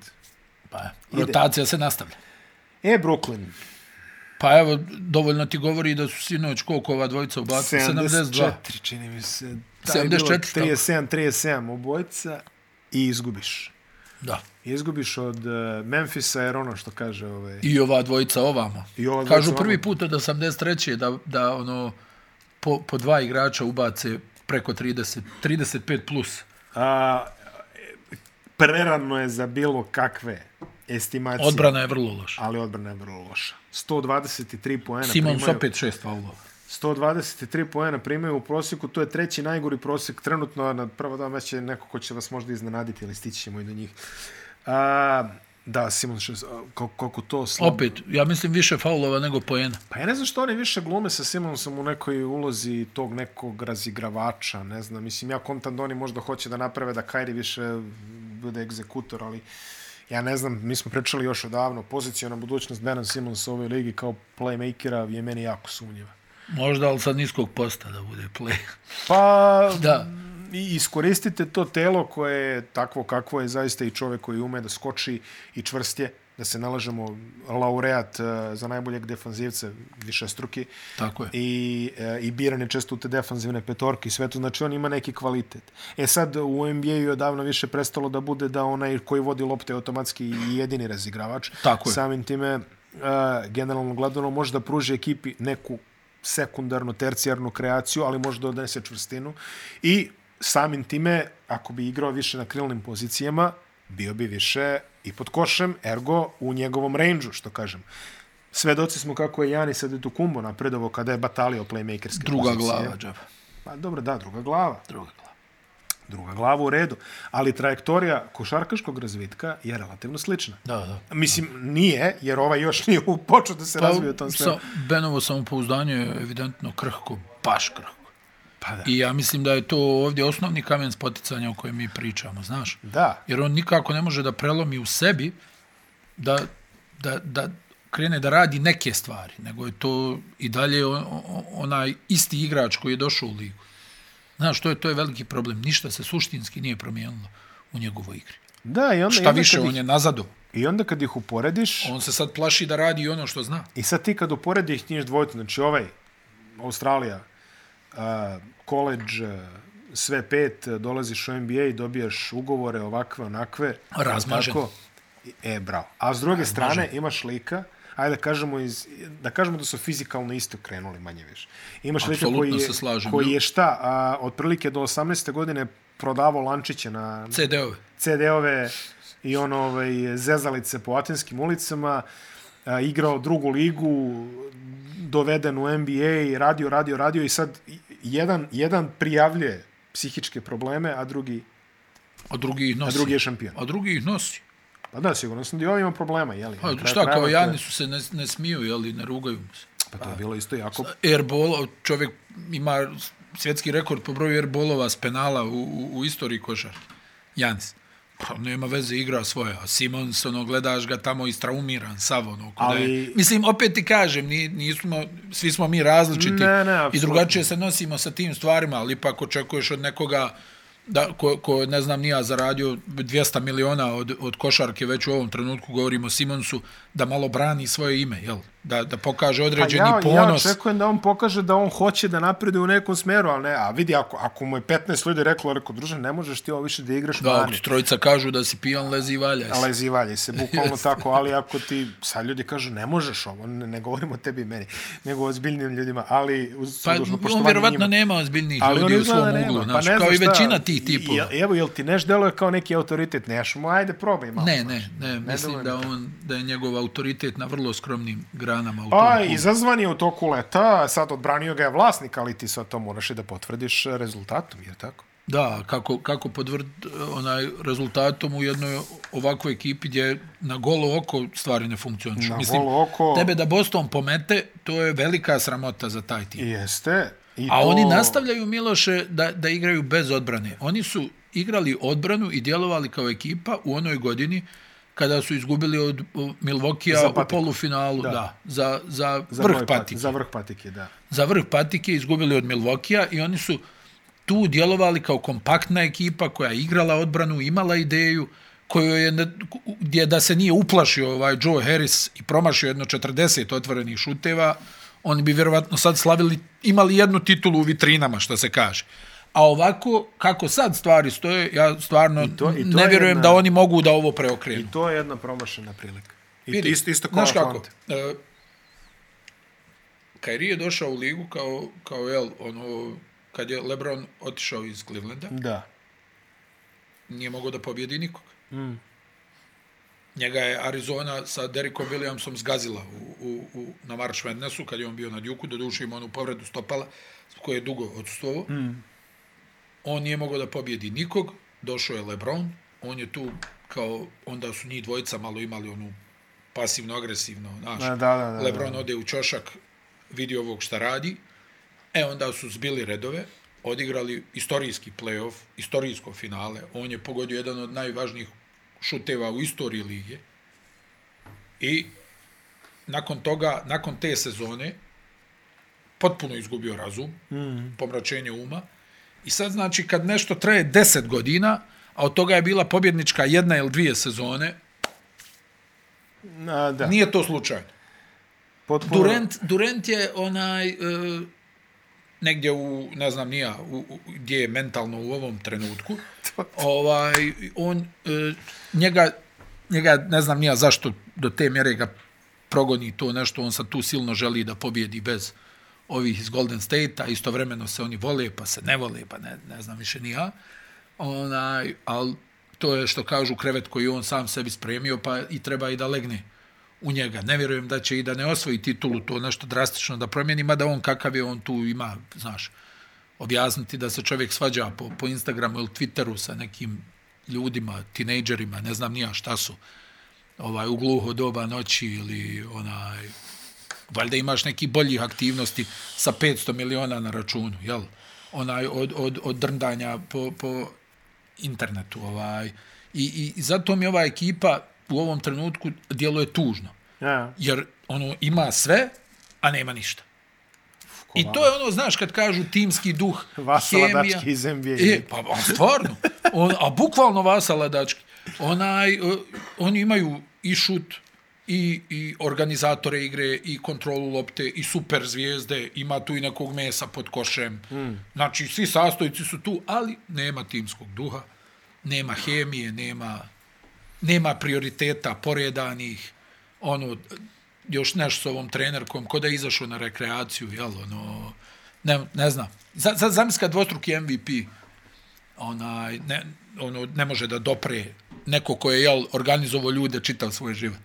S2: Pa,
S1: Ide.
S2: rotacija se nastavlja.
S1: E, Brooklyn,
S2: Pa evo, dovoljno ti govori da su sinoć koliko ova dvojica ubacila? 72.
S1: 74, čini mi se. Taj je bilo
S2: 74, tako.
S1: 37, 37 obojica i izgubiš.
S2: Da.
S1: Izgubiš od uh, Memfisa jer ono što kaže ovaj...
S2: I ova dvojica ovamo.
S1: I ova dvojica
S2: Kažu prvi
S1: ovamo.
S2: put od 83. da, da ono, po, po dva igrača ubace preko 30, 35 plus.
S1: A, prerano je za bilo kakve estimacije.
S2: Odbrana je vrlo loša.
S1: Ali odbrana je vrlo loša. 123 poena
S2: Simons
S1: primaju.
S2: opet šest faulova.
S1: 123 poena primaju u prosjeku. To je treći najgori prosjek. Trenutno na prvo dva meća je neko ko će vas možda iznenaditi, ali stići ćemo i do njih. A, da, Simon šest, a, kol- koliko to slabo.
S2: Opet, ja mislim više faulova nego poena.
S1: Pa ja ne znam što oni više glume sa Simonsom u nekoj ulozi tog nekog razigravača, ne znam, mislim, ja kontam da oni možda hoće da naprave da Kairi više bude egzekutor, ali ja ne znam, mi smo pričali još odavno, pozicijona budućnost Bena Simonsa u ovoj ligi kao playmakera je meni jako sumnjiva.
S2: Možda, ali sa niskog posta da bude play.
S1: Pa,
S2: Da.
S1: i iskoristite to telo koje je takvo kakvo je zaista i čovek koji ume da skoči i čvrst je, da se nalažemo laureat eh, za najboljeg defanzivca višestruki.
S2: Tako je.
S1: i, e, i biran je često u te defanzivne petorke i sve to. Znači, on ima neki kvalitet. E sad, u NBA-u je odavno više prestalo da bude da onaj koji vodi lopte je automatski i jedini razigravač.
S2: Tako je.
S1: Samim time, e, generalno gledano, može da pruži ekipi neku sekundarnu, tercijarnu kreaciju, ali može da odnese čvrstinu. I samim time, ako bi igrao više na krilnim pozicijama, bio bi više i pod košem, ergo u njegovom range što kažem. Svedoci smo kako je Janis Adetokumbo napredovao kada je batalio playmakerske
S2: Druga
S1: pozicije.
S2: glava, džaba.
S1: Pa dobro, da, druga glava.
S2: Druga glava.
S1: Druga glava u redu. Ali trajektorija košarkaškog razvitka je relativno slična.
S2: Da, da.
S1: Mislim, nije, jer ovaj još nije u- počeo da se pa, razvije u tom svemu.
S2: sa, Benovo samopouzdanje je evidentno krhko, baš krhko.
S1: Pa da.
S2: I ja mislim da je to ovdje osnovni kamen spoticanja o kojem mi pričamo, znaš?
S1: Da,
S2: Jer on nikako ne može da prelomi u sebi da, da, da krene da radi neke stvari, nego je to i dalje on- on- onaj isti igrač koji je došao u ligu. Znaš, to je, to je veliki problem. Ništa se suštinski nije promijenilo u njegovoj igri.
S1: da i onda, i
S2: Šta
S1: onda
S2: više,
S1: kad
S2: on
S1: ih,
S2: je nazado.
S1: i onda kad ih uporediš,
S2: On se sad plaši da radi i ono što zna.
S1: I sad ti kad uporedi ih njih dvojicu, znači ovaj, Australija, koleđ, sve pet, a, dolaziš u NBA i dobijaš ugovore ovakve, onakve.
S2: Razmažen.
S1: Tako, I- E, bravo. A s druge strane imaš lika, ajde da kažemo, iz, da kažemo da su fizikalno isto krenuli manje više. Imaš lika
S2: Apsolutno
S1: koji je,
S2: se slažem.
S1: koji je šta, a, otprilike do 18. godine prodavao lančiće na,
S2: CD-ove.
S1: CD-ove i ono ovaj, zezalice po atenskim ulicama, a, igrao drugu ligu, doveden u NBA, radio, radio, radio i sad jedan, jedan prijavljuje psihičke probleme, a drugi,
S2: A drugi ih
S1: a
S2: nosi.
S1: drugi je šampion.
S2: A drugi ih nosi.
S1: Pa da, sigurno sam da i ovaj ima problema, jeli?
S2: Pa,
S1: Na kraju
S2: šta,
S1: krajeva
S2: kao
S1: to je-
S2: Jani su se ne, ne smiju, jeli, ne rugaju mu se.
S1: Pa to je bilo isto jako...
S2: Airball, čovjek ima svjetski rekord po broju airballova s penala u, u, u istoriji košar. Janis. Pa nema veze, igra svoja. Simons, ono, gledaš ga tamo istraumiran, sav, ono, kuda
S1: Ali-
S2: je. Mislim, opet ti kažem, ni, nismo, svi smo mi različiti
S1: Ne, ne,
S2: i
S1: apsolutno.
S2: drugačije se nosimo sa tim stvarima, ali ipak očekuješ od nekoga da, ko, ko ne znam, nija zaradio 200 miliona od, od košarke, već u ovom trenutku govorimo o Simonsu, da malo brani svoje ime, jel? Da, da pokaže određeni
S1: Pa ja,
S2: ponos.
S1: Ja očekujem da on pokaže da on hoće da napreduje u nekom smeru, ali ne, a vidi, ako, ako mu je 15 ljudi reklo, rekao, druže, ne možeš ti ovo više da igraš
S2: Da,
S1: da,
S2: ako ti trojica kažu da si pijan, lezi i valjaj se.
S1: Ali zivalje se, bukvalno tako, ali ako ti, sad ljudi kažu, ne možeš ovo, ne, ne govorimo o tebi i meni, nego o ozbiljnim ljudima, ali uz
S2: Pa,
S1: dužno
S2: on
S1: poštovanje
S2: vjerovatno
S1: njima.
S2: nema ozbiljnih
S1: Ali
S2: ljudi
S1: on
S2: u
S1: izgleda
S2: svom
S1: da nema,
S2: uglu,
S1: pa
S2: znaš,
S1: ne
S2: kao
S1: znam
S2: i
S1: šta.
S2: većina tih tipova.
S1: Je- Evo, jel ti neš deluje kao neki autoritet? Neš mu, ajde, probaj malo.
S2: Ne, ne, ne, mislim
S1: dovoljno.
S2: da on da je njegov autoritet na vrlo skromnim granama u tom
S1: Pa,
S2: klubu.
S1: izazvan je u toku leta, sad odbranio ga je vlasnik, ali ti sad to moraš i da potvrdiš eh, rezultatom, je tako?
S2: Da, kako, kako podvrd onaj rezultatom u jednoj ovakvoj ekipi gdje na golo oko stvari ne funkcionišu.
S1: Na
S2: Mislim,
S1: golo oko-
S2: Tebe da Boston pomete, to je velika sramota za taj tim.
S1: I jeste. I
S2: A
S1: to...
S2: oni nastavljaju, Miloše, da, da igraju bez odbrane. Oni su igrali odbranu i djelovali kao ekipa u onoj godini kada su izgubili od Milvokija
S1: Za
S2: u
S1: Patiku.
S2: polufinalu, da, da za, za,
S1: Za
S2: vrh
S1: broj pat-
S2: patike.
S1: Za vrh patike, da.
S2: Za vrh patike izgubili od Milvokija i oni su tu djelovali kao kompaktna ekipa koja je igrala odbranu, imala ideju, koju je, ne- gdje da se nije uplašio ovaj Joe Harris i promašio jedno 40 otvorenih šuteva, oni bi vjerovatno sad slavili, imali jednu titulu u vitrinama, što se kaže. A ovako, kako sad stvari stoje, ja stvarno
S1: to- i to
S2: ne
S1: je
S2: vjerujem
S1: jedna-
S2: da oni mogu da ovo preokrenu.
S1: I to je jedna promašena prilika. I
S2: Vidi,
S1: isto, isto kao
S2: znaš kako,
S1: Atlante.
S2: e, Kairi je došao u ligu kao, kao jel, ono, kad je Lebron otišao iz Clevelanda,
S1: Da.
S2: nije mogao da pobjedi nikoga. Mm. Njega je Arizona sa Derrickom Williamsom zgazila u, u, u, na March Madnessu kad je on bio na Duke, doduše ima onu povredu stopala koje je dugo odsustvovao. Mm. On nije mogao da pobjedi nikog, došao je LeBron, on je tu kao, onda su njih dvojica malo imali onu pasivno-agresivno, znaš,
S1: Da, da, da, da.
S2: LeBron ode u čošak, vidi ovog šta radi, E onda su zbili redove, odigrali istorijski play-off, istorijsko finale. On je pogodio jedan od najvažnijih šuteva u istoriji lige. I nakon toga, nakon te sezone, potpuno izgubio razum, mm. pomračenje uma. I sad znači kad nešto traje 10 godina, a od toga je bila pobjednička jedna ili dvije sezone,
S1: A, da.
S2: nije to slučajno.
S1: Potpuno...
S2: Durant, Durant je onaj e, negdje u, ne znam nija, u, u, gdje je mentalno u ovom trenutku. ovaj, on, e, njega, njega, ne znam nija zašto do te mjere ga progoni to nešto, on sad tu silno želi da pobjedi bez ovih iz Golden State-a, istovremeno se oni vole, pa se ne vole, pa ne, ne znam više ni ja. Onaj, ali to je što kažu krevet koji je on sam sebi spremio, pa i treba i da legne u njega. Ne vjerujem da će i da ne osvoji titulu to nešto drastično da promijeni, mada on kakav je, on tu ima, znaš, objasniti da se čovjek svađa po, po Instagramu ili Twitteru sa nekim ljudima, tinejdžerima, ne znam nija šta su, ovaj, u gluho doba noći ili onaj, valjda imaš neki boljih aktivnosti sa 500 miliona na računu, jel? Onaj, od, od, od drndanja po, po internetu, ovaj. I, i, I zato mi ova ekipa u ovom trenutku djeluje tužno.
S1: Ja,
S2: Jer ono ima sve, a nema ništa. I
S1: Kovalo.
S2: to je ono, znaš, kad kažu timski duh,
S1: Vasala
S2: hemija.
S1: Dački iz NBA.
S2: E, pa, pa stvarno. On, a bukvalno Vasala Dački. Onaj, e, oni imaju i šut, i, i organizatore igre, i kontrolu lopte, i super zvijezde, ima tu i nekog mesa pod košem. Mm. Znači, svi sastojci su tu, ali nema timskog duha, nema hemije, nema nema prioriteta poredanih, ono, još nešto s ovom trenerkom, ko da je izašao na rekreaciju, jel, ono, ne, ne znam. Za, za, zamiska dvostruki MVP, onaj, ne, ono, ne može da dopre neko ko je, jel, organizovao ljude čitav svoj život.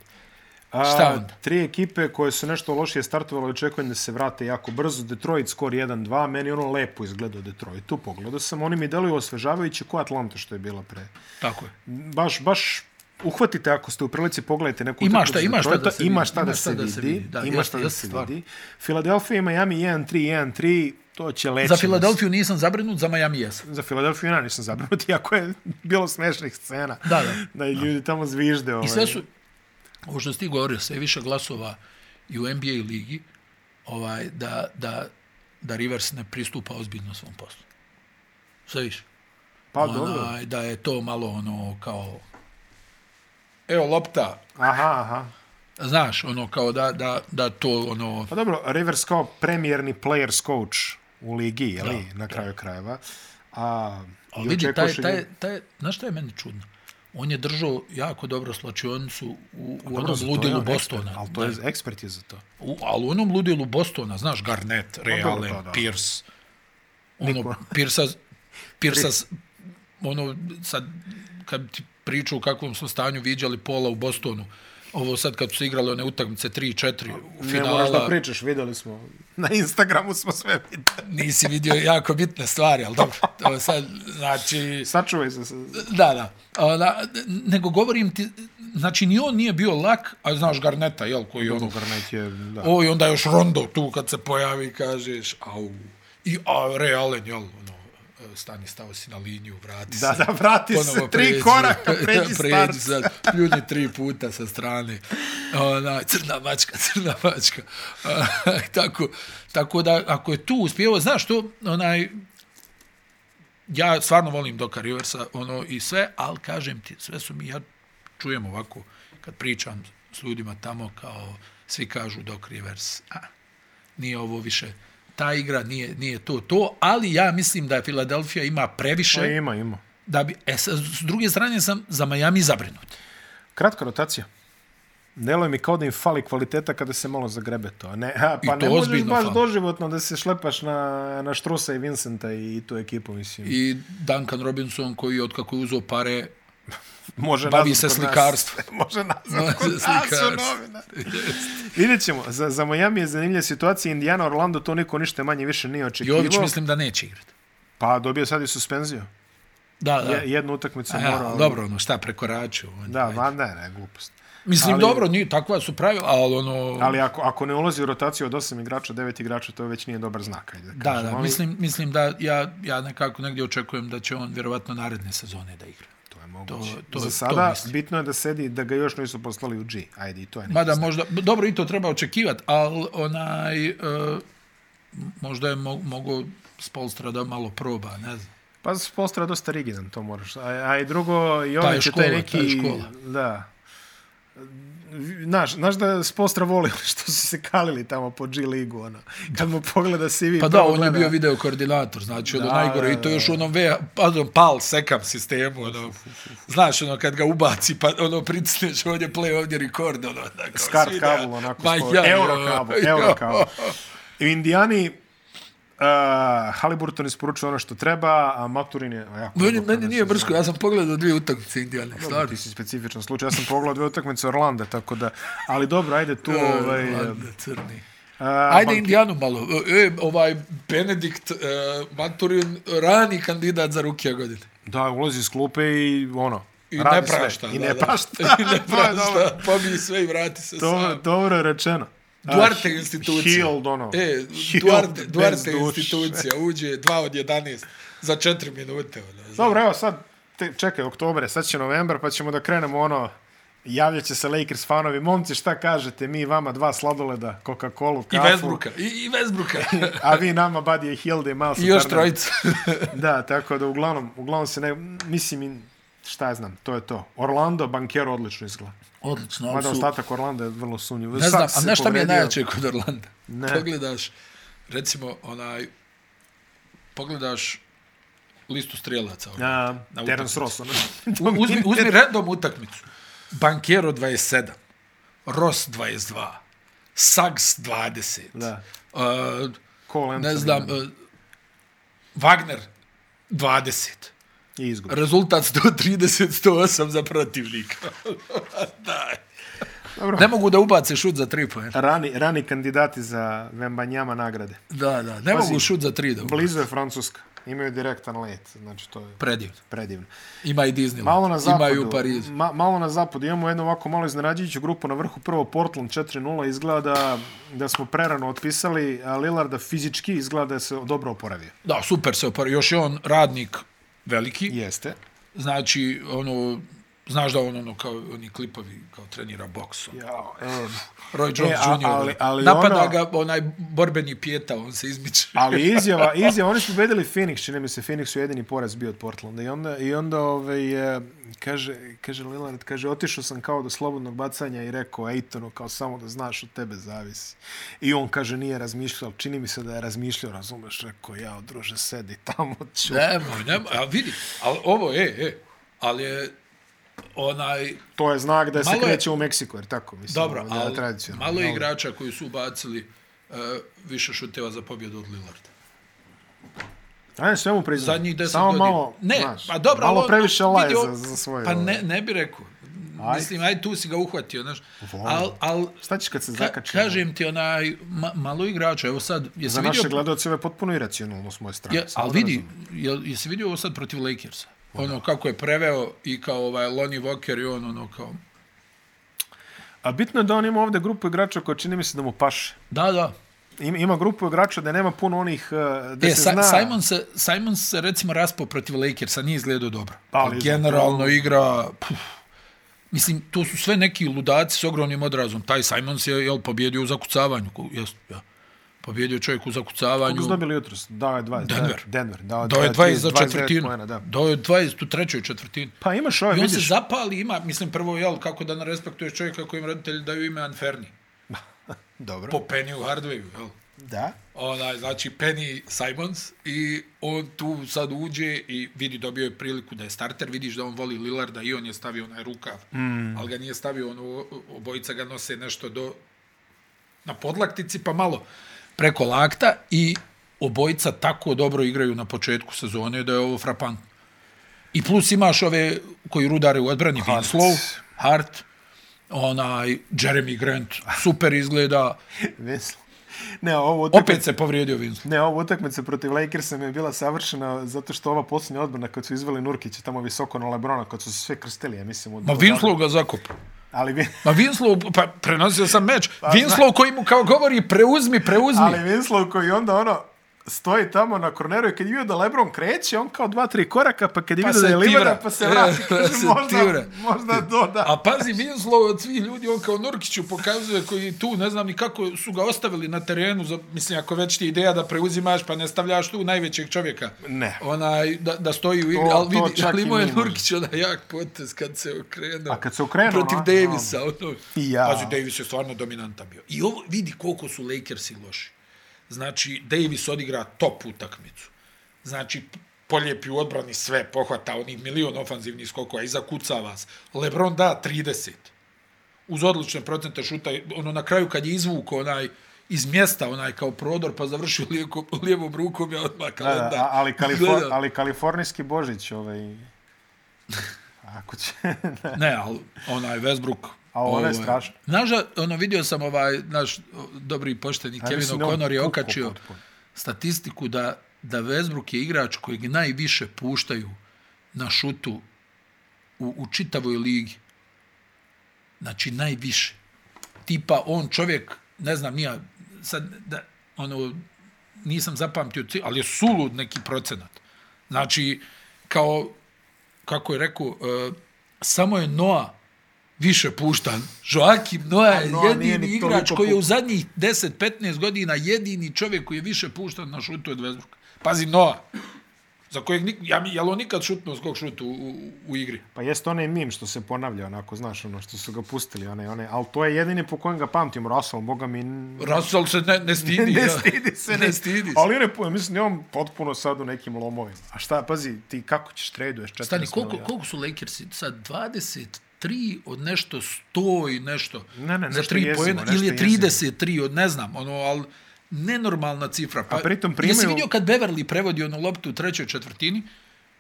S1: A,
S2: šta onda?
S1: Tri ekipe koje su nešto lošije startovale, očekujem da se vrate jako brzo. Detroit skor 1-2, meni ono lepo izgleda u Detroitu, pogledao sam. Oni mi deluju osvežavajući ko Atlanta što je bila pre.
S2: Tako je.
S1: Baš, baš uhvatite ako ste u prilici, pogledajte neku
S2: Ima
S1: utakmicu
S2: šta- ima šta
S1: Detroita,
S2: da se
S1: ima
S2: vidi,
S1: šta da se vidi,
S2: da,
S1: ima
S2: jeste-
S1: šta da
S2: jeste
S1: se
S2: stvar.
S1: vidi. Filadelfija i Miami 1-3, 1-3, To će leći.
S2: Za Filadelfiju nisam zabrinut, za Miami jesam.
S1: Za Filadelfiju ja nisam zabrinut, iako je bilo smešnih scena.
S2: Da, da.
S1: Da i ljudi tamo zvižde. Ovaj.
S2: I sve su, ovo što si ti govorio, sve više glasova i u NBA ligi ovaj, da, da, da Rivers ne pristupa ozbiljno svom poslu. Sve više.
S1: Pa dobro.
S2: Onaj, da je to malo ono kao... Evo lopta,
S1: Aha, aha.
S2: znaš, ono kao da, da, da to ono...
S1: Pa dobro, Rivers kao premijerni players coach u ligi, je li, na kraju krajeva. A,
S2: A
S1: i
S2: vidi, taj,
S1: očekuješ i
S2: taj,
S1: ljudi-
S2: taj, znaš šta je meni čudno? On je držao jako dobro slačionicu u, u
S1: Dobro,
S2: onom
S1: za Ono, to je
S2: ludilu
S1: on
S2: ono Bostona.
S1: ekspert, Ali to je, ekspert je za to.
S2: U, ali u onom ludilu Bostona, znaš, Garnett,
S1: dobro,
S2: Reale,
S1: to da.
S2: Pierce, ono,
S1: Niko.
S2: Pierce, Pierce, ono, sad, kad bi ti priču u kakvom su stanju viđali pola u Bostonu, ovo sad kad su se igrale one utakmice 3-4 u
S1: Ne moraš da
S2: finala,
S1: pričaš, vidjeli smo. Na Instagramu smo sve vidjeli.
S2: nisi vidio jako bitne stvari, ali dobro, to sad, znači,
S1: Sačuvaj se. se-
S2: Da, da. A, da. Nego govorim ti, znači ni on nije bio lak, a znaš Garneta, jel, koji je ono...
S1: Ono Garnet je, da.
S2: O, i onda još Rondo tu kad se pojavi, kažeš, au. I a, Ray Allen, jel, ono, e, stani, stao si na liniju, vrati
S1: Da,
S2: se.
S1: da, vrati se,
S2: ponovo
S1: tri koraka, pređi start.
S2: sad, pljuni tri puta sa strane. Ona, crna mačka, crna mačka. A, tako, tako da, ako je tu uspjevo, znaš to, onaj, ja stvarno volim Doka Riversa ono, i sve, ali kažem ti, sve su mi, ja čujem ovako, kad pričam s ljudima tamo, kao svi kažu Doc Rivers, a, nije ovo više, ta igra nije, nije to to, ali ja mislim da Filadelfija ima previše,
S1: Pa ima, ima.
S2: da bi, e, sa, s druge strane sam za Miami zabrinut.
S1: Kratka rotacija. Deluje mi kao da im fali kvaliteta kada se malo zagrebe to. a Ne, a, pa
S2: I to
S1: ne možeš
S2: ozbiljno
S1: baš
S2: fali.
S1: doživotno da se šlepaš na, na Štrusa i Vincenta i tu ekipu, mislim. I
S2: I Duncan Robinson koji je otkako je uzeo pare,
S1: Može
S2: bavi
S1: nazad
S2: se
S1: kod nas.
S2: slikarstvom.
S1: Može nazad kod nas u
S2: Slikarstvom.
S1: novina. Vidjet ćemo. Za, za Miami je zanimljiva situacija. Indiana, Orlando, to niko ništa manje više nije očekivao.
S2: Jović mislim da neće igrati.
S1: Pa dobio sad i suspenziju.
S2: Da, da.
S1: Je, jednu utakmicu
S2: A,
S1: morao.
S2: ja, dobro, ono, šta prekoračio. On,
S1: Da, ma ne, ne, glupost.
S2: Mislim,
S1: ali-
S2: ali, dobro, nije, takva su pravila, ali ono...
S1: Ali ako, ako ne ulazi u rotaciju od 8 igrača, 9 igrača, to već nije dobar znak. Ajde,
S2: da,
S1: kažem,
S2: da,
S1: ali
S2: mislim, mislim da ja, ja nekako negdje očekujem da će on vjerovatno naredne sezone da igra.
S1: To je moguće. To,
S2: to- to-
S1: to,
S2: to
S1: Za sada to
S2: mislim.
S1: bitno je da sedi, da ga još nisu poslali u G. Ajde, i to je neki
S2: Mada
S1: znak.
S2: možda, b- dobro i to treba očekivati, ali onaj, e, možda je mo, mogo Spolstra da malo proba, ne znam.
S1: Pa Spolstra je dosta rigidan, to moraš. A, a i drugo, i
S2: Ta
S1: ovaj
S2: je
S1: će taj
S2: škola,
S1: neki...
S2: ta je škola.
S1: Da. Znaš, znaš da Spolstra voli što su se kalili tamo po G ligu, ono. Kad mu pogleda CV...
S2: Pa da,
S1: prvo
S2: on je
S1: gleda-
S2: bio video koordinator, znači ono
S1: Da,
S2: najgore i to još u onom VH, pardon, pal sekam sistemu, ono, znaš, ono, kad ga ubaci, pa ono, pritisneš ovdje play, ovdje record, ono, tako,
S1: Skart
S2: svi da-
S1: kabel, onako,
S2: Ma
S1: sporo.
S2: ja,
S1: euro
S2: jo,
S1: kabel,
S2: jo.
S1: euro kabel. I U Indijani uh, Haliburton isporučuje ono što treba, a Maturin je... a Jako
S2: Meni,
S1: dobro
S2: meni nije
S1: sezona.
S2: brsko, ja sam pogledao dvije utakmice Indijane,
S1: Dobro,
S2: stvarno.
S1: ti si specifičan slučaj. Ja sam pogledao dve utakmice Orlanda, tako da... Ali dobro, ajde tu... ovaj,
S2: Ladno, crni.
S1: a,
S2: Ajde
S1: banki-
S2: Indijanu malo. E, ovaj Benedikt e, Maturin, rani kandidat za rukija godine.
S1: Da, ulazi iz klupe i ono...
S2: I
S1: radi
S2: ne prašta.
S1: Sve. I
S2: da,
S1: ne
S2: da.
S1: prašta.
S2: I ne
S1: to je dobro.
S2: prašta. Pobiji sve i vrati se
S1: Dobro,
S2: sam.
S1: dobro je rečeno. A,
S2: Duarte institucija.
S1: Healed, ono.
S2: E,
S1: Healed
S2: Duarte,
S1: bez
S2: Duarte
S1: duše.
S2: institucija. Uđe 2 od 11 za 4 minute. Ono, znaš.
S1: Dobro, evo sad, te, čekaj, oktobre, sad će novembar, pa ćemo da krenemo ono, javljat će se Lakers fanovi, momci, šta kažete, mi vama dva sladoleda, Coca-Cola,
S2: I
S1: kafu,
S2: Vesbruka. I, i Vesbruka.
S1: a vi nama Buddy Hilde i Miles
S2: I još
S1: Turnera.
S2: trojica.
S1: Da, tako da uglavnom, uglavnom se ne, mislim, i- šta ja znam, to je to. Orlando, Bankero odlično izgleda.
S2: Odlično. ali
S1: Mada
S2: su-
S1: ostatak Orlanda je vrlo sumnjiv.
S2: Ne znam, a
S1: se
S2: znaš šta mi je
S1: povredio.
S2: najjače kod Orlanda?
S1: Ne.
S2: Pogledaš, recimo, onaj, pogledaš listu strelaca. Ono.
S1: A,
S2: Na
S1: Terence Ross, ono.
S2: U- Uzmi, uzmi random utakmicu. Bankero 27, Ross 22, Sags 20,
S1: Da.
S2: uh,
S1: Cole Anthony ono.
S2: ne znam, uh, Wagner 20.
S1: i izgubi.
S2: Rezultat 130-108 za protivnika. Daj.
S1: Dobro.
S2: Ne mogu da ubace šut za tri pojena.
S1: Rani, rani kandidati za Vembanjama nagrade.
S2: Da, da, ne mogu šut za tri da ubace.
S1: Blizu je Francuska. Imaju direktan let, znači to je
S2: Predivno.
S1: predivno.
S2: Ima i Disneyland.
S1: Malo na zapadu,
S2: Ima i u Parizu.
S1: Ma, malo na zapadu, imamo jednu ovako malo iznenađujuću grupu na vrhu, prvo Portland 4-0, izgleda da, da smo prerano otpisali, a Lillarda fizički izgleda da se dobro oporavio.
S2: Da, super se opar. Još je on radnik veliki.
S1: Jeste.
S2: Znači, ono, znaš da on ono kao oni klipovi kao trenira boks. ono.
S1: Jao, e,
S2: Roy Jones
S1: a-
S2: Jr.
S1: ali- ali
S2: napada
S1: ono-
S2: ga onaj borbeni pjeta, on se izmiče.
S1: ali izjava, izjava, oni su pobedili Phoenix, čini mi se, Phoenix su jedini poraz bio od Portlanda i onda, i onda ovaj, e, kaže, kaže Lillard, kaže, otišao sam kao do slobodnog bacanja i rekao Ejtonu, kao samo da znaš, od tebe zavisi. I on kaže, nije razmišljao, ali čini mi se da je razmišljao, razumeš, rekao, jao, druže, sedi tamo, ću.
S2: Nemoj, nemoj, a vidi, ali ovo je, e, ali je onaj,
S1: To je znak da se
S2: Malo je-
S1: kreće u Meksiku, jer tako, mislim,
S2: dobro,
S1: ovo je
S2: ali
S1: tradicionalno.
S2: malo je igrača koji su ubacili uh, više šuteva za pobjedu od Lillarda.
S1: Ajde, sve mu priznam.
S2: Zadnjih deset
S1: Samo
S2: godina.
S1: malo,
S2: ne,
S1: znaš,
S2: pa dobro, ali
S1: malo
S2: on-
S1: previše
S2: vidi,
S1: laje
S2: on-
S1: za, za svoje.
S2: Pa
S1: ovo.
S2: ne, ne bi rekao.
S1: Aj.
S2: Mislim, aj tu si ga uhvatio, znaš.
S1: Volim.
S2: Al, al,
S1: Šta ćeš kad se
S2: Ka,
S1: zakači?
S2: kažem ti onaj ma, malo igrača, evo sad jesi
S1: Za naše
S2: vidio
S1: gledalce ovo je potpuno iracionalno s moje strane.
S2: ja,
S1: samo
S2: al
S1: da
S2: vidi,
S1: razumem.
S2: jel jesi vidio ovo sad protiv Lakersa? Ono kako je preveo i kao ovaj Lonnie Walker i on ono kao
S1: A bitno je da on ima ovde grupu igrača koja čini mi se da mu paše.
S2: da da.
S1: Ima, ima grupu igrača da nema puno onih eh, da
S2: E,
S1: se
S2: Sa,
S1: zna.
S2: Simon, se, Simon se recimo raspao protiv Lakersa, nije izgledao dobro.
S1: Pa, ali
S2: Ali
S1: zapravo-
S2: generalno igra... Puf, mislim, to su sve neki ludaci s ogromnim odrazom. Taj Simon se je jel, pobjedio u zakucavanju. Ko- Jes, ja. Pobjedio čovjek u zakucavanju.
S1: Kako su dobili jutros? Dao je 20.
S2: Denver.
S1: Denver. Dao je,
S2: Dao je 20 za
S1: 29
S2: četvrtinu.
S1: poena, da.
S2: Dao je 20 u trećoj četvrtini.
S1: Pa imaš ove,
S2: I on
S1: vidiš.
S2: se zapali, ima, mislim, prvo, jel, kako da ne respektuješ čovjeka kojim roditelji daju ime Anferni.
S1: Dobro.
S2: Po Penny u Hardwayu, jel?
S1: Da.
S2: Onaj, znači, Penny Simons i on tu sad uđe i vidi, dobio je priliku da je starter, vidiš da on voli Lillarda i on je stavio onaj rukav, mm. ali ga nije stavio, ono, obojica ga nose nešto do, na podlaktici, pa malo preko lakta i obojica tako dobro igraju na početku sezone da je ovo frapantno. I plus imaš ove koji rudare u odbrani,
S1: Hart.
S2: Winslow, Hart, onaj Jeremy Grant, super izgleda,
S1: Veslo. Ne, ovo
S2: opet se povrijedio Winslow.
S1: Ne, ova utakmica protiv Lakersa mi je bila savršena zato što ova posljednja odbrana kad su izveli Nurkića tamo visoko na Lebrona, kad su se sve krstili, ja mislim. Od
S2: Ma Winslow ga zakopao.
S1: Ali, Vin-
S2: Ma Winslow, pa prenosio sam meč, Winslow koji mu kao govori preuzmi, preuzmi.
S1: Pa ali Winslow koji onda ono stoji tamo na korneru i kad je vidio da Lebron kreće, on kao dva, tri koraka, pa kad je
S2: Pa
S1: vidio da je
S2: se tira.
S1: livada, pa se vrati,
S2: E,
S1: kaže,
S2: se
S1: možda,
S2: tira.
S1: možda doda.
S2: A pazi, Winslow od svih ljudi, on kao Nurkiću pokazuje koji tu, ne znam ni kako su ga ostavili na terenu, za, mislim, ako već ti je ideja da preuzimaš, pa ne stavljaš tu najvećeg čovjeka.
S1: Ne.
S2: Onaj, da, da stoji u igri,
S1: To-
S2: ali
S1: to
S2: vidi,
S1: čak
S2: ali
S1: i
S2: imao je
S1: mi možemo.
S2: Nurkić onaj jak potez kad se okrenuo.
S1: A kad se okrenuo,
S2: Protiv
S1: ono,
S2: Davisa, ono.
S1: I ja.
S2: Pazi, Davis je stvarno dominantan bio. I ovo, vidi koliko su Lakersi loši. Znači, Davis odigra top utakmicu. Znači, polijepi u odbrani sve, pohvata onih milion ofanzivnih skokova, iza kuca vas. Lebron da 30. Uz odlične procente šuta, ono na kraju kad je izvuko onaj iz mjesta onaj kao prodor pa završio lijekom, lijevom rukom ja odmah
S1: Da,
S2: kalendar.
S1: da, a- ali, Kalifor,
S2: gledao.
S1: ali kalifornijski Božić, ovaj... Ako će...
S2: Ne, ali onaj Westbrook. ovaj,
S1: A ovo je strašno.
S2: Znaš, da, ono, vidio sam ovaj naš o, dobri i pošteni Kevin
S1: Pa mislim da on
S2: O'Connor je
S1: pukao
S2: okačio
S1: potpuno.
S2: statistiku da, da Westbrook je igrač kojeg najviše puštaju na šutu u, u čitavoj ligi. Znači, najviše. Tipa, on čovjek, ne znam, nija, sad, da, ono, nisam zapamtio, ci- ali je sulud neki procenat. Znači, kao, kako je rekao, e, samo je Noa više puštan. Joakim Noa je
S1: Noa nije
S2: jedini
S1: ni
S2: igrač
S1: toliko
S2: koji je u
S1: puštan.
S2: zadnjih 10-15 godina jedini čovjek koji je više puštan na šutu od Westbrooka. Pazi, Noa, za kojeg, nik, ja, mi- jel on nikad šutnuo skog šutu u, u, u igri?
S1: Pa jeste onaj mim što se ponavlja, onako, znaš, ono, što su ga pustili, onaj, onaj, ali to je jedini po kojem ga pamtim, Russell, boga mi... n-
S2: Russell se ne, ne stidi.
S1: ne
S2: ja.
S1: stidi se, ne,
S2: ne stidi se.
S1: Ali on je, pu- mislim, je on potpuno sad u nekim lomovima. A šta, pazi, ti kako ćeš traduješ 40
S2: Stani, koliko,
S1: miliona?
S2: koliko su Lakersi? Sad 23 od nešto 100 i nešto.
S1: Ne, ne,
S2: za
S1: nešto
S2: tri
S1: jezivo,
S2: poena,
S1: nešto
S2: Ili je
S1: jezivo.
S2: 33 od ne znam, ono, ali nenormalna cifra. Pa,
S1: A pritom
S2: Jesi
S1: primaju-
S2: vidio kad Beverly prevodi onu loptu u trećoj četvrtini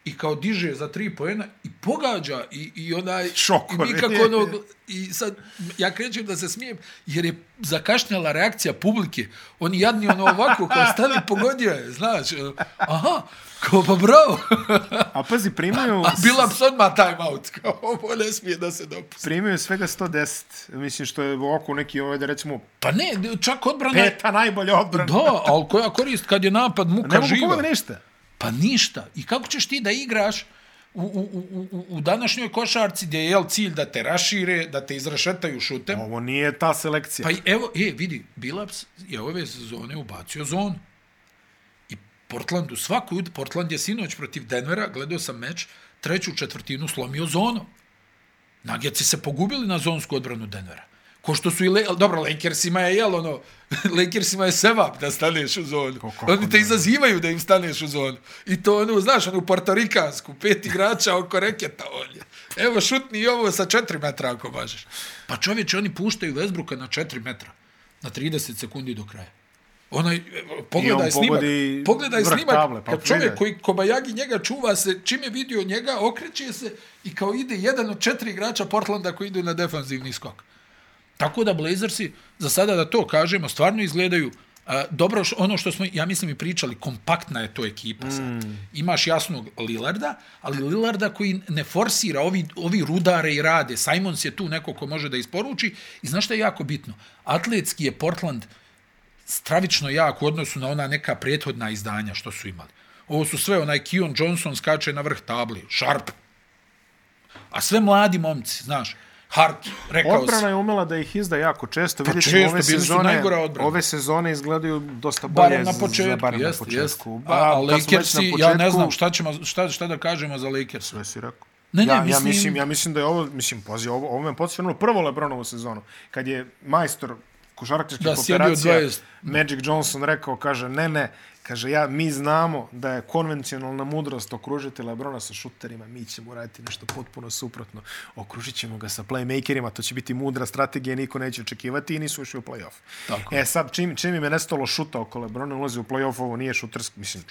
S2: i kao diže za tri poena i pogađa i, i onaj...
S1: Šokovi.
S2: I nikako ono... I sad, ja krećem da se smijem, jer je zakašnjala reakcija publike. Oni jadni ono ovako, kao stani, pogodio je, znaš. ono, Aha, kao pa bravo.
S1: A pazi, primaju,
S2: A bila bi se odmah time out. Kao, ovo ne smije da se dopusti.
S1: primaju svega 110. Mislim što je oko neki, ovaj, da recimo,
S2: Pa ne, čak odbrana...
S1: peta najbolja odbrana.
S2: Da, ali koja korist kad je napad muka
S1: Ne mogu
S2: živa?
S1: pomoći ništa.
S2: Pa ništa. I kako ćeš ti da igraš u, u, u, u, u današnjoj košarci gdje je jel, cilj da te rašire, da te izrašetaju šutem?
S1: Ovo nije ta selekcija.
S2: Pa i evo, e, vidi, Bilaps je ove sezone ubacio zonu. I Portlandu svaku, jut- Portland je sinoć protiv Denvera, gledao sam meč, treću četvrtinu slomio zonu. Nagjaci se pogubili na zonsku odbranu Denvera. Ko što su i, Le dobro, Lakersima je, jel, ono, Lakersima je sevap da staneš u zonu.
S1: kako
S2: Oni te izazivaju da im staneš u zonu. I to, ono, znaš, ono, portorikansku, pet igrača oko reketa, on je. Evo, šutni i ovo sa četiri metra ako možeš. Pa čovječe, oni puštaju Vesbruka na četiri metra. Na 30 sekundi do kraja. Onaj, e, pogledaj
S1: on
S2: snimak.
S1: pogodi
S2: Pogledaj
S1: vrh
S2: snimak.
S1: table, pa
S2: kad čovjek
S1: vidi.
S2: koji Kobayagi njega čuva se, čim je vidio njega, okreće se i kao ide jedan od četiri igrača Portlanda koji idu na defanzivni skok. Tako da Blazersi, za sada da to kažemo, stvarno izgledaju a, dobro š- ono što smo, ja mislim, i pričali, kompaktna je to ekipa sad.
S1: Mm.
S2: Imaš jasnog Lillarda, ali Lillarda koji ne forsira, ovi, ovi rudare i rade. Simons je tu neko ko može da isporuči. I znaš što je jako bitno? Atletski je Portland stravično jak u odnosu na ona neka prethodna izdanja što su imali. Ovo su sve, onaj Kion Johnson skače na vrh tabli, Sharp. A sve mladi momci, znaš, Hart, rekao si.
S1: Odbrana je umela da ih izda jako često. Pa Vidjet ćemo
S2: često,
S1: ove
S2: bili su
S1: sezone,
S2: najgora odbrana.
S1: ove sezone izgledaju dosta bolje
S2: Barem na
S1: za-
S2: početku,
S1: barem
S2: jest,
S1: na
S2: jest.
S1: početku.
S2: A, a
S1: kad smo već na
S2: Lakersi, ja ne
S1: početku,
S2: znam šta, ćemo, šta, šta da kažemo za Lakers.
S1: Sve si rekao.
S2: Ne, ne,
S1: ja,
S2: mislim-
S1: Ja mislim, ja mislim da je ovo, mislim, pazi, ovo, ovo me podsjeća na onu prvo Lebronovu sezonu, kad je majstor košarkaških
S2: Da, sjedio
S1: operacija
S2: 20.
S1: Magic Johnson rekao, kaže, ne, ne, kaže, ja, mi znamo da je konvencionalna mudrost okružiti Lebrona sa šuterima, mi ćemo raditi nešto potpuno suprotno. Okružit ćemo ga sa playmakerima, to će biti mudra strategija, niko neće očekivati i nisu išli u playoff.
S2: Tako
S1: E sad, čim, čim im je nestalo šuta oko Lebrona, ulazi u playoff, ovo nije šuterski, mislim,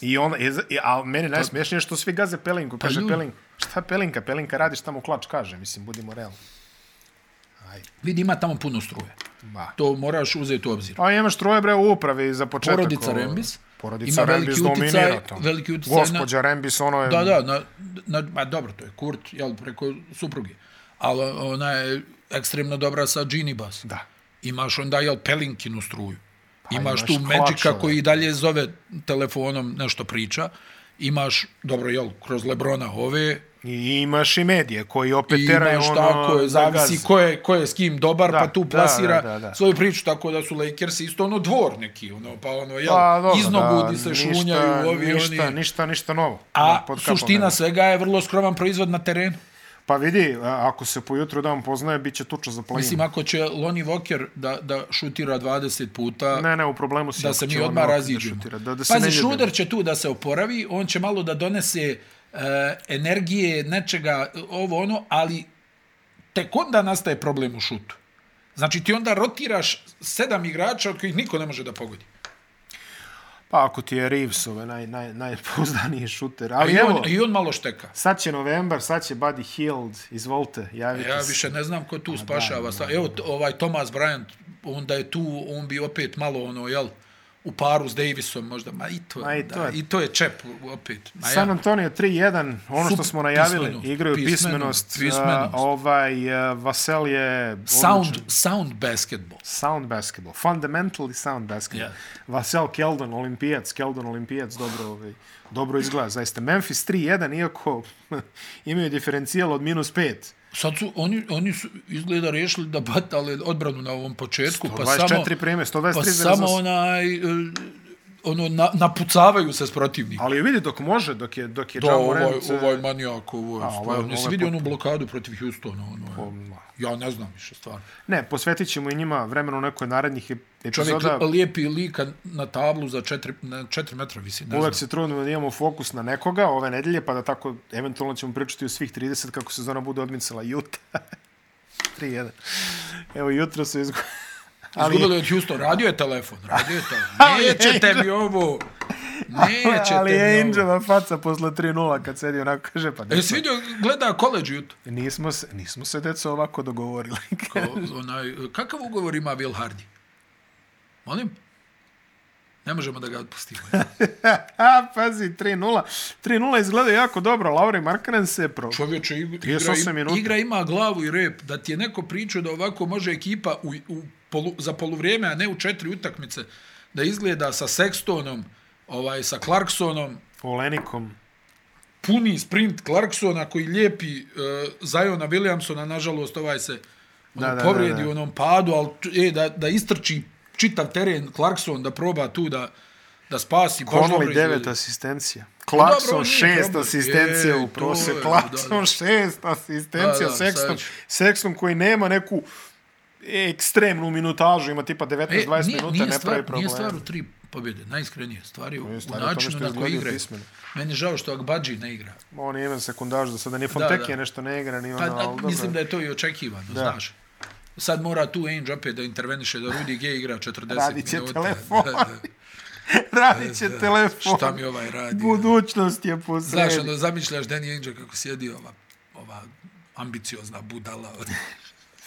S1: i on, i, i- a meni najsmiješnije je što svi gaze Pelinku, kaže
S2: Pa- ljudi.
S1: Pelink, šta Pelinka, Pelinka radi šta mu klač kaže, mislim, budimo realni.
S2: Vidi, ima tamo puno struje.
S1: Ba.
S2: To moraš uzeti u obzir.
S1: A Pa imaš troje bre u upravi za početak.
S2: Porodica
S1: ovo.
S2: Rembis.
S1: Porodica
S2: Ima
S1: Rembis
S2: veliki uticaj-
S1: dominira tamo.
S2: veliki uticaj na-
S1: Gospodja Rembis, ono je...
S2: Da, da, na, na, ma dobro, to je Kurt, jel, preko supruge. Ali ona je ekstremno dobra sa Gini Bass.
S1: Da.
S2: Imaš onda, jel, Pelinkinu struju. Pa, imaš,
S1: imaš
S2: tu Magica
S1: Kovačeva.
S2: koji i dalje zove telefonom, nešto priča. Imaš, dobro, jel, kroz Lebrona ove,
S1: I imaš i medije koji opet
S2: I
S1: teraju
S2: imaš
S1: ono...
S2: tako, je,
S1: da
S2: zavisi
S1: gaze.
S2: ko je, ko je s kim dobar,
S1: Da,
S2: pa tu
S1: da,
S2: plasira
S1: da, da, da.
S2: svoju priču, tako da su Lakers isto ono dvor neki, ono, pa ono, jel,
S1: Pa, dobro,
S2: iznogudi
S1: da,
S2: se
S1: ništa-
S2: šunjaju ovi,
S1: ništa,
S2: oni,
S1: Ništa, ništa novo.
S2: a
S1: Da, pod kapom
S2: suština
S1: nema.
S2: svega je vrlo skroman proizvod na terenu.
S1: Pa vidi, a- ako se pojutro dan poznaje, bit će tuča za
S2: Mislim,
S1: play
S2: ako će Lonnie Walker da, da šutira 20 puta,
S1: Ne, ne, u problemu si.
S2: da
S1: ako
S2: se mi
S1: će on
S2: odmah
S1: ovako da
S2: raziđemo.
S1: šutira, Da, da se ne
S2: Pazi,
S1: ljubimo.
S2: Šuder će tu da se oporavi, on će malo da donese e, energije, nečega, e, ovo ono, ali tek onda nastaje problem u šutu. Znači ti onda rotiraš sedam igrača od kojih niko ne može da pogodi.
S1: Pa ako ti je Reeves ove naj, naj, najpouzdaniji šuter. Ali
S2: I
S1: Pa evo,
S2: on, I on malo šteka.
S1: sad će novembar, sad će Buddy Hield. Izvolite, javite
S2: Ja
S1: se.
S2: više ne znam ko tu spašava. Sa- Evo t- ovaj Thomas Bryant, onda je tu, on bi opet malo ono, jel, u paru s Davisom možda, ma i to,
S1: Ma
S2: je,
S1: i
S2: onda,
S1: to je.
S2: i to je čep opet. Ma
S1: San Antonio 3-1, ono što
S2: Pa Sup-
S1: smo najavili,
S2: pismenost,
S1: igraju
S2: pismenost,
S1: pismenost.
S2: pismenost.
S1: A, ovaj, uh, Vasel je... odličan.
S2: Sound, sound basketball.
S1: Sound basketball. Fundamentally sound basketball.
S2: Yeah.
S1: Yeah. Vasel Keldon, olimpijac. Keldon, olimpijac, dobro, ovaj, dobro izgleda. Zaista, Memphis 3-1, iako imaju diferencijal od minus 5.
S2: Sad su, oni, oni su izgleda rešili da batale odbranu na ovom početku, pa samo,
S1: 24 prime, 123
S2: pa
S1: za
S2: samo onaj, e, ono, na, napucavaju se s protivnikom.
S1: Ali vidi dok može, dok je dok je
S2: Da,
S1: John
S2: ovaj,
S1: Morant,
S2: ovaj manijak, ovo je stvarno.
S1: ovaj-
S2: Jesi
S1: ovaj
S2: vidio onu
S1: potpuno.
S2: blokadu protiv Houstona? Ono, je. ja ne znam više stvarno.
S1: e, Ne, posvetit ćemo i njima vremenu u nekoj narednih ep-
S2: Čovjek
S1: epizoda.
S2: lijepi lika na tablu za 4 na 4 metra visi, ne znam.
S1: Uvek se trudimo da imamo fokus na nekoga ove nedelje, pa da tako eventualno ćemo pričati o svih 30 kako sezona bude odmicala Utah. 3-1. Evo, jutro su izgubili.
S2: Izgubili od Houston, radio je telefon, radio je telefon. Neće tebi ovo. Nećete,
S1: ali je
S2: mnogo.
S1: Angelova faca posle 3-0 kad sedi onako kaže pa
S2: E,
S1: deco,
S2: si vidio, gleda koleđ jutro.
S1: nismo se, nismo se deco ovako dogovorili.
S2: Ko- onaj, kakav ugovor ima Will Hardy? Molim? Ne možemo da ga otpustimo.
S1: A, pazi, 3-0. 3-0 izgleda jako dobro. Lauri Markkanen se pro...
S2: Čovječe, ig- igra,
S1: 38
S2: im-
S1: minuta.
S2: igra ima glavu i rep. Da ti je neko pričao da ovako može ekipa u, u polu, za poluvrijeme, a ne u četiri utakmice, da izgleda sa Sextonom, ovaj, sa Clarksonom,
S1: Polenikom.
S2: puni sprint Clarksona koji lijepi uh, Zajona Williamsona, nažalost ovaj se ono,
S1: Da, da,
S2: povrijedi
S1: da, da.
S2: u onom padu, ali t- e, da, da istrči čitav teren Clarkson da proba tu da, da spasi. baš dobro
S1: Conley
S2: izgleda.
S1: 9 asistencija.
S2: dobro,
S1: Clarkson
S2: nije
S1: 6
S2: problem.
S1: asistencija
S2: Ej,
S1: u
S2: to
S1: prosjeku.
S2: je, da,
S1: Clarkson
S2: da.
S1: 6 asistencija.
S2: Da, da,
S1: Sexton,
S2: sad ću.
S1: Sexton koji nema neku ekstremnu minutažu, ima tipa
S2: E,
S1: 19-20
S2: nije,
S1: minuta,
S2: nije,
S1: ne
S2: stvar,
S1: pravi
S2: nije
S1: problem.
S2: stvar u tri pobjede, najiskrenije. Stvar je u,
S1: Nije
S2: u
S1: stvar u tome
S2: načinu
S1: što
S2: na koji
S1: izgledaju
S2: igraju.
S1: pismeno.
S2: Meni je žao što Agbađi ne igra.
S1: On je imao sekundaž do sada, ni Fontekije
S2: da.
S1: nešto ne igra, ni
S2: Pa,
S1: ono, ali
S2: a,
S1: dobro.
S2: mislim da je to i očekivano, da. znaš. Sad mora tu Ainge opet da interveniše, da Rudy Gay igra 40
S1: Radit će
S2: minuta.
S1: telefon.
S2: Da, da.
S1: Radit će telefon.
S2: Šta mi ovaj radi?
S1: Budućnost je po
S2: Znaš,
S1: sredi.
S2: onda zamišljaš Danny Angel kako sjedi ova, ova ambiciozna budala.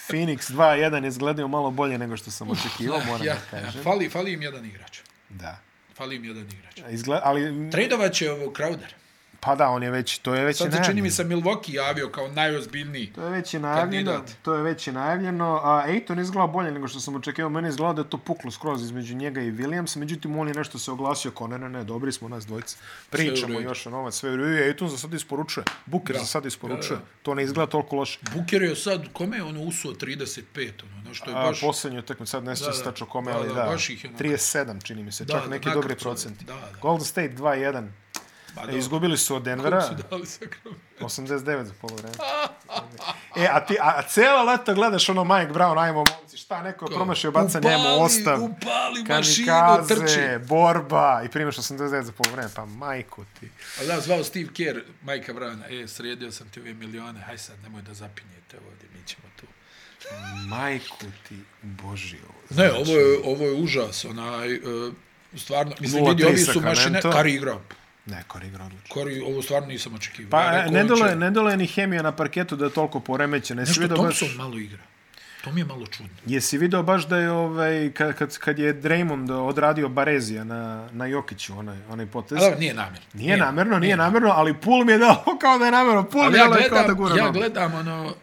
S1: Phoenix 2-1 izgledaju malo bolje nego što sam očekivao, moram
S2: ja,
S1: da kažem.
S2: fali, fali im jedan igrač.
S1: Da.
S2: Fali im jedan igrač.
S1: Izgled, ali,
S2: Tradovat će ovo Crowder.
S1: pa da, on je već, to je već
S2: Sad se čini mi
S1: najavljeno.
S2: se Milwaukee javio kao najozbiljniji.
S1: To je već i najavljeno,
S2: Kandidat.
S1: to je već i najavljeno, a Ejton izgleda bolje nego što sam očekivao, meni izgleda da je to puklo skroz između njega i Williams, međutim on je nešto se oglasio kao ne, ne, ne, dobri smo nas dvojica,
S2: Sve u
S1: pričamo
S2: redu.
S1: još o novac, sve u redu, Ejton za sad isporučuje, Buker
S2: Da.
S1: za sad isporučuje,
S2: Da, da.
S1: to ne izgleda toliko loše.
S2: Buker je sad, kome je ono usuo 35, ono, ono što je
S1: A,
S2: baš...
S1: posljednju utakmicu sad ne
S2: Da,
S1: sjećam
S2: da.
S1: stačno kome,
S2: Da,
S1: ali da,
S2: da, baš ih je onako-
S1: 37 čini mi se,
S2: Da,
S1: čak
S2: da,
S1: neki dobri
S2: nakrcu,
S1: procenti.
S2: da, da.
S1: Golden State 2-1,
S2: Pa
S1: E,
S2: dobro,
S1: izgubili su od Denvera,
S2: su dali sa Crowder.
S1: 89 za polovreme. E, a ti, a cijelo leto gledaš ono Mike Brown, ajmo momci, šta, neko je promašio baca
S2: Upali,
S1: njemu, ostav,
S2: Upali mašinu,
S1: kamikaze,
S2: trči.
S1: borba, i primiš 89 za polovreme, pa majku ti.
S2: Ali ja zvao Steve Kerr, Majka Vrana, e, sredio sam ti ove milione, haj sad, nemoj da zapinjete ovdje, mi ćemo tu.
S1: Majku ti, boži ovo.
S2: Ne, ovo je, ovo je užas, onaj, e, stvarno, mislim,
S1: 0-3
S2: vidi, ovi su
S1: Sacramento.
S2: mašine, Kari igrao.
S1: Ne, korigra odlično.
S2: Kari, ovo stvarno nisam očekivao.
S1: Pa,
S2: Ja
S1: e,
S2: rekao,
S1: ne
S2: on
S1: dole,
S2: će-
S1: ne dole ni hemija na parketu da je toliko poremećena. Jesi
S2: Nešto
S1: video baš,
S2: Thompson malo igra. To mi je malo čudno.
S1: jesi video baš da je, ovaj, kad, kad, kad je Draymond odradio Barezija na, na Jokiću, onaj, onaj potez.
S2: Ali dobro, nije namjerno.
S1: Nije namerno, nije namerno, ali pul mi je dao kao da je namerno. Pul mi
S2: Ali
S1: je
S2: ja
S1: dao kao da
S2: gledam,
S1: gura
S2: ja
S1: nogu.
S2: gledam, ono,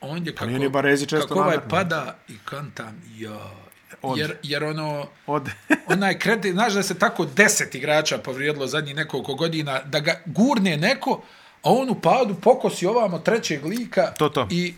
S2: on je kako,
S1: Pa nije ni Baresi često
S2: kako ovaj
S1: namerno.
S2: pada i kantam, ja,
S1: Od.
S2: jer, jer ono,
S1: Od...
S2: onaj kredit, znaš da se tako deset igrača povrijedilo zadnjih nekoliko godina, da ga gurne neko, a on u padu pokosi ovamo trećeg lika.
S1: To, to.
S2: I,